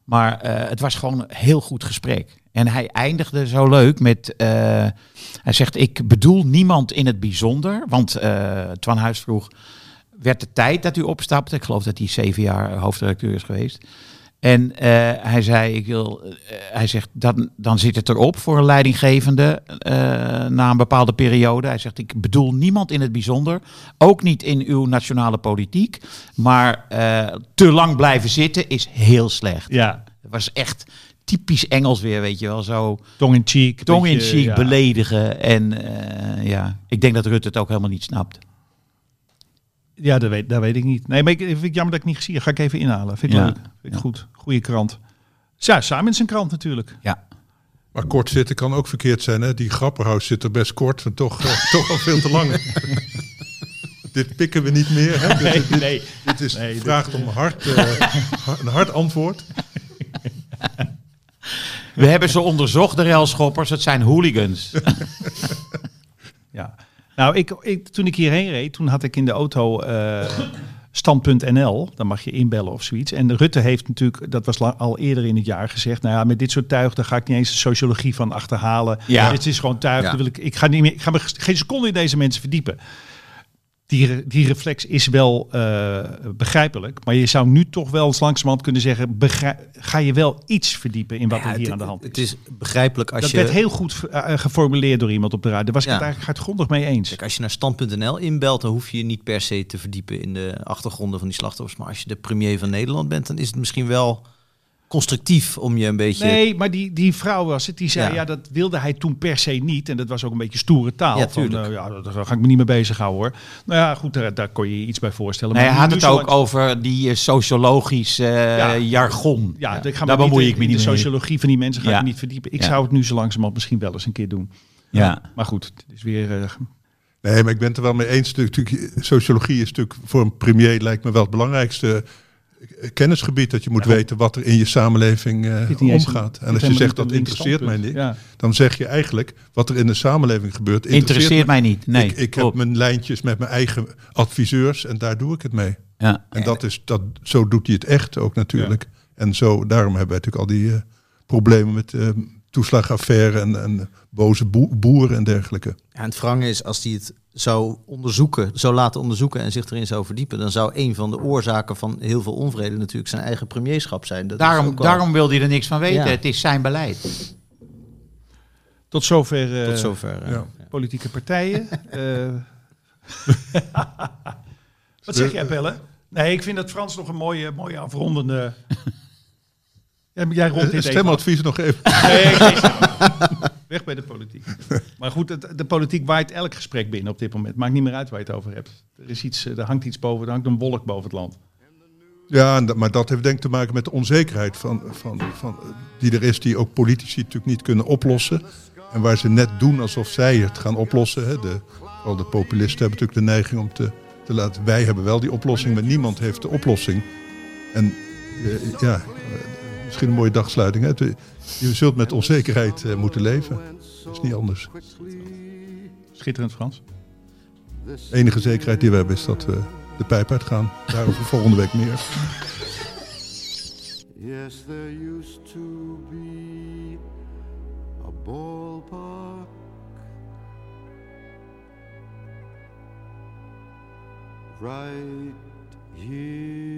Maar eh, het was gewoon een heel goed gesprek. En hij eindigde zo leuk met, eh, hij zegt, ik bedoel niemand in het bijzonder. Want eh Twan Huis vroeg, werd de tijd dat u opstapte, ik geloof dat hij zeven jaar hoofdredacteur is geweest. En eh, hij zei, ik wil, eh, hij zegt, dan, dan zit het erop voor een leidinggevende eh, na een bepaalde periode. Hij zegt, ik bedoel niemand in het bijzonder, ook niet in uw nationale politiek. Maar eh, te lang blijven zitten is heel slecht. Ja. Het was echt typisch Engels weer, weet je wel, zo Tong in cheek. tong in beetje, cheek, ja. beledigen. En eh, ja, ik denk dat Rutte het ook helemaal niet snapt. Ja, dat weet, dat weet ik niet. Nee, maar ik, vind ik jammer dat ik het niet gezien heb. Ga ik even inhalen. Vind ik Ja. leuk. Vind ik Ja. goed. Goeie krant. Ja, samen in zijn krant natuurlijk. Ja. Maar kort zitten kan ook verkeerd zijn. Hè? Die grapperhaus zit er best kort, maar toch, eh, toch al veel te lang. dit pikken we niet meer. Hè? Dit, dit, nee. dit is Nee, dit- vraagt om hard, eh, ha- een hard antwoord. We hebben ze onderzocht, de railschoppers. Het zijn hooligans. Ja. Nou, ik, ik, toen ik hierheen reed, toen had ik in de auto eh, stand.nl. Dan mag je inbellen of zoiets. En Rutte heeft natuurlijk, dat was la- al eerder in het jaar gezegd. Nou ja, met dit soort tuig, daar ga ik niet eens de sociologie van achterhalen. Ja. Dit is gewoon tuig. Ja. daar Wil ik, ik, ga niet meer, ik ga me ges- geen seconde in deze mensen verdiepen. Die, re- die reflex is wel eh, begrijpelijk. Maar je zou nu toch wel eens langzamerhand kunnen zeggen... begrij- ga je wel iets verdiepen in wat Ja, er hier het- aan de hand is. Het is begrijpelijk als dat je... werd heel goed ver- eh, geformuleerd door iemand op de raad. Daar was ik Ja. het eigenlijk hartgrondig mee eens. Kijk, als je naar stand.nl inbelt, dan hoef je je niet per se te verdiepen in de achtergronden van die slachtoffers. Maar als je de premier van Nederland bent, dan is het misschien wel constructief om je een beetje... Nee, maar die, die vrouw was het. Die zei, ja. Ja. dat wilde hij toen per se niet. En dat was ook een beetje stoere taal. Ja, van, tuurlijk. eh, ja, dat- daar ga ik me niet mee bezighouden hoor. Nou ja, goed, daar, daar kon je je iets bij voorstellen. Nee, hij maar had nu het zo ook lang- over die eh, sociologisch eh, Ja. jargon. Ja, ik ga Daar me niet bemoei in- ik me in niet De mee. sociologie van die mensen ga Ja. ik me niet verdiepen. Ik Ja. zou het nu zo langzamerhand misschien wel eens een keer doen. Ja. Maar goed, het is weer... eh, Nee, maar ik ben het er wel mee eens. Natuurlijk, Sociologie is natuurlijk voor een premier lijkt me wel het belangrijkste eh, kennisgebied. Dat je moet weten wat er in je samenleving eh, dit niet eens- omgaat. dit En als helemaal je niet zegt dat een links interesseert mij niet, standpunt. Ja. dan zeg je eigenlijk wat er in de samenleving gebeurt. Interesseert mij niet. Nee, ik ik heb klopt. mijn lijntjes met mijn eigen adviseurs en daar doe ik het mee. Ja. En dat is, dat, zo doet hij het echt ook natuurlijk. En zo, daarom hebben we natuurlijk al die eh, problemen met eh, toeslagaffaire en, en boze boe- boeren en dergelijke. Ja, en het wrange is, als hij het zou onderzoeken, zou laten onderzoeken en zich erin zou verdiepen, dan zou een van de oorzaken van heel veel onvrede natuurlijk zijn eigen premierschap zijn. Dat is Daarom, ook wel- daarom wil hij er niks van weten. Ja. Het is zijn beleid. Tot zover, eh, Tot zover. eh. ja. politieke partijen. Eh, Wat zeg jij, Pelle? Nee, ik vind dat Frans nog een mooie, mooie afrondende... Ja, maar jij rond dit Eh, even af. Stemadvies nog even. Nee, ik lees het wel. Weg bij de politiek. Maar goed, het- de politiek waait elk gesprek binnen op dit moment. Maakt niet meer uit waar je het over hebt. Er, is iets, eh, er hangt iets boven, er hangt een wolk boven het land. Ja, en dat- maar dat heeft denk ik te maken met de onzekerheid van, van, van, die er is, die ook politici natuurlijk niet kunnen oplossen. En waar ze net doen alsof zij het gaan oplossen. Hè. De, al de populisten hebben natuurlijk de neiging om te, te laten. Wij hebben wel die oplossing, maar niemand heeft de oplossing. En eh, ja, eh, misschien een mooie dagsluiting. Hè. Het- Je zult met onzekerheid eh, moeten leven. Dat is niet anders. Schitterend, Frans. De enige zekerheid die we hebben is dat we de pijp uitgaan. Daarover volgende week meer. Yes, there used to be a ballpark right here.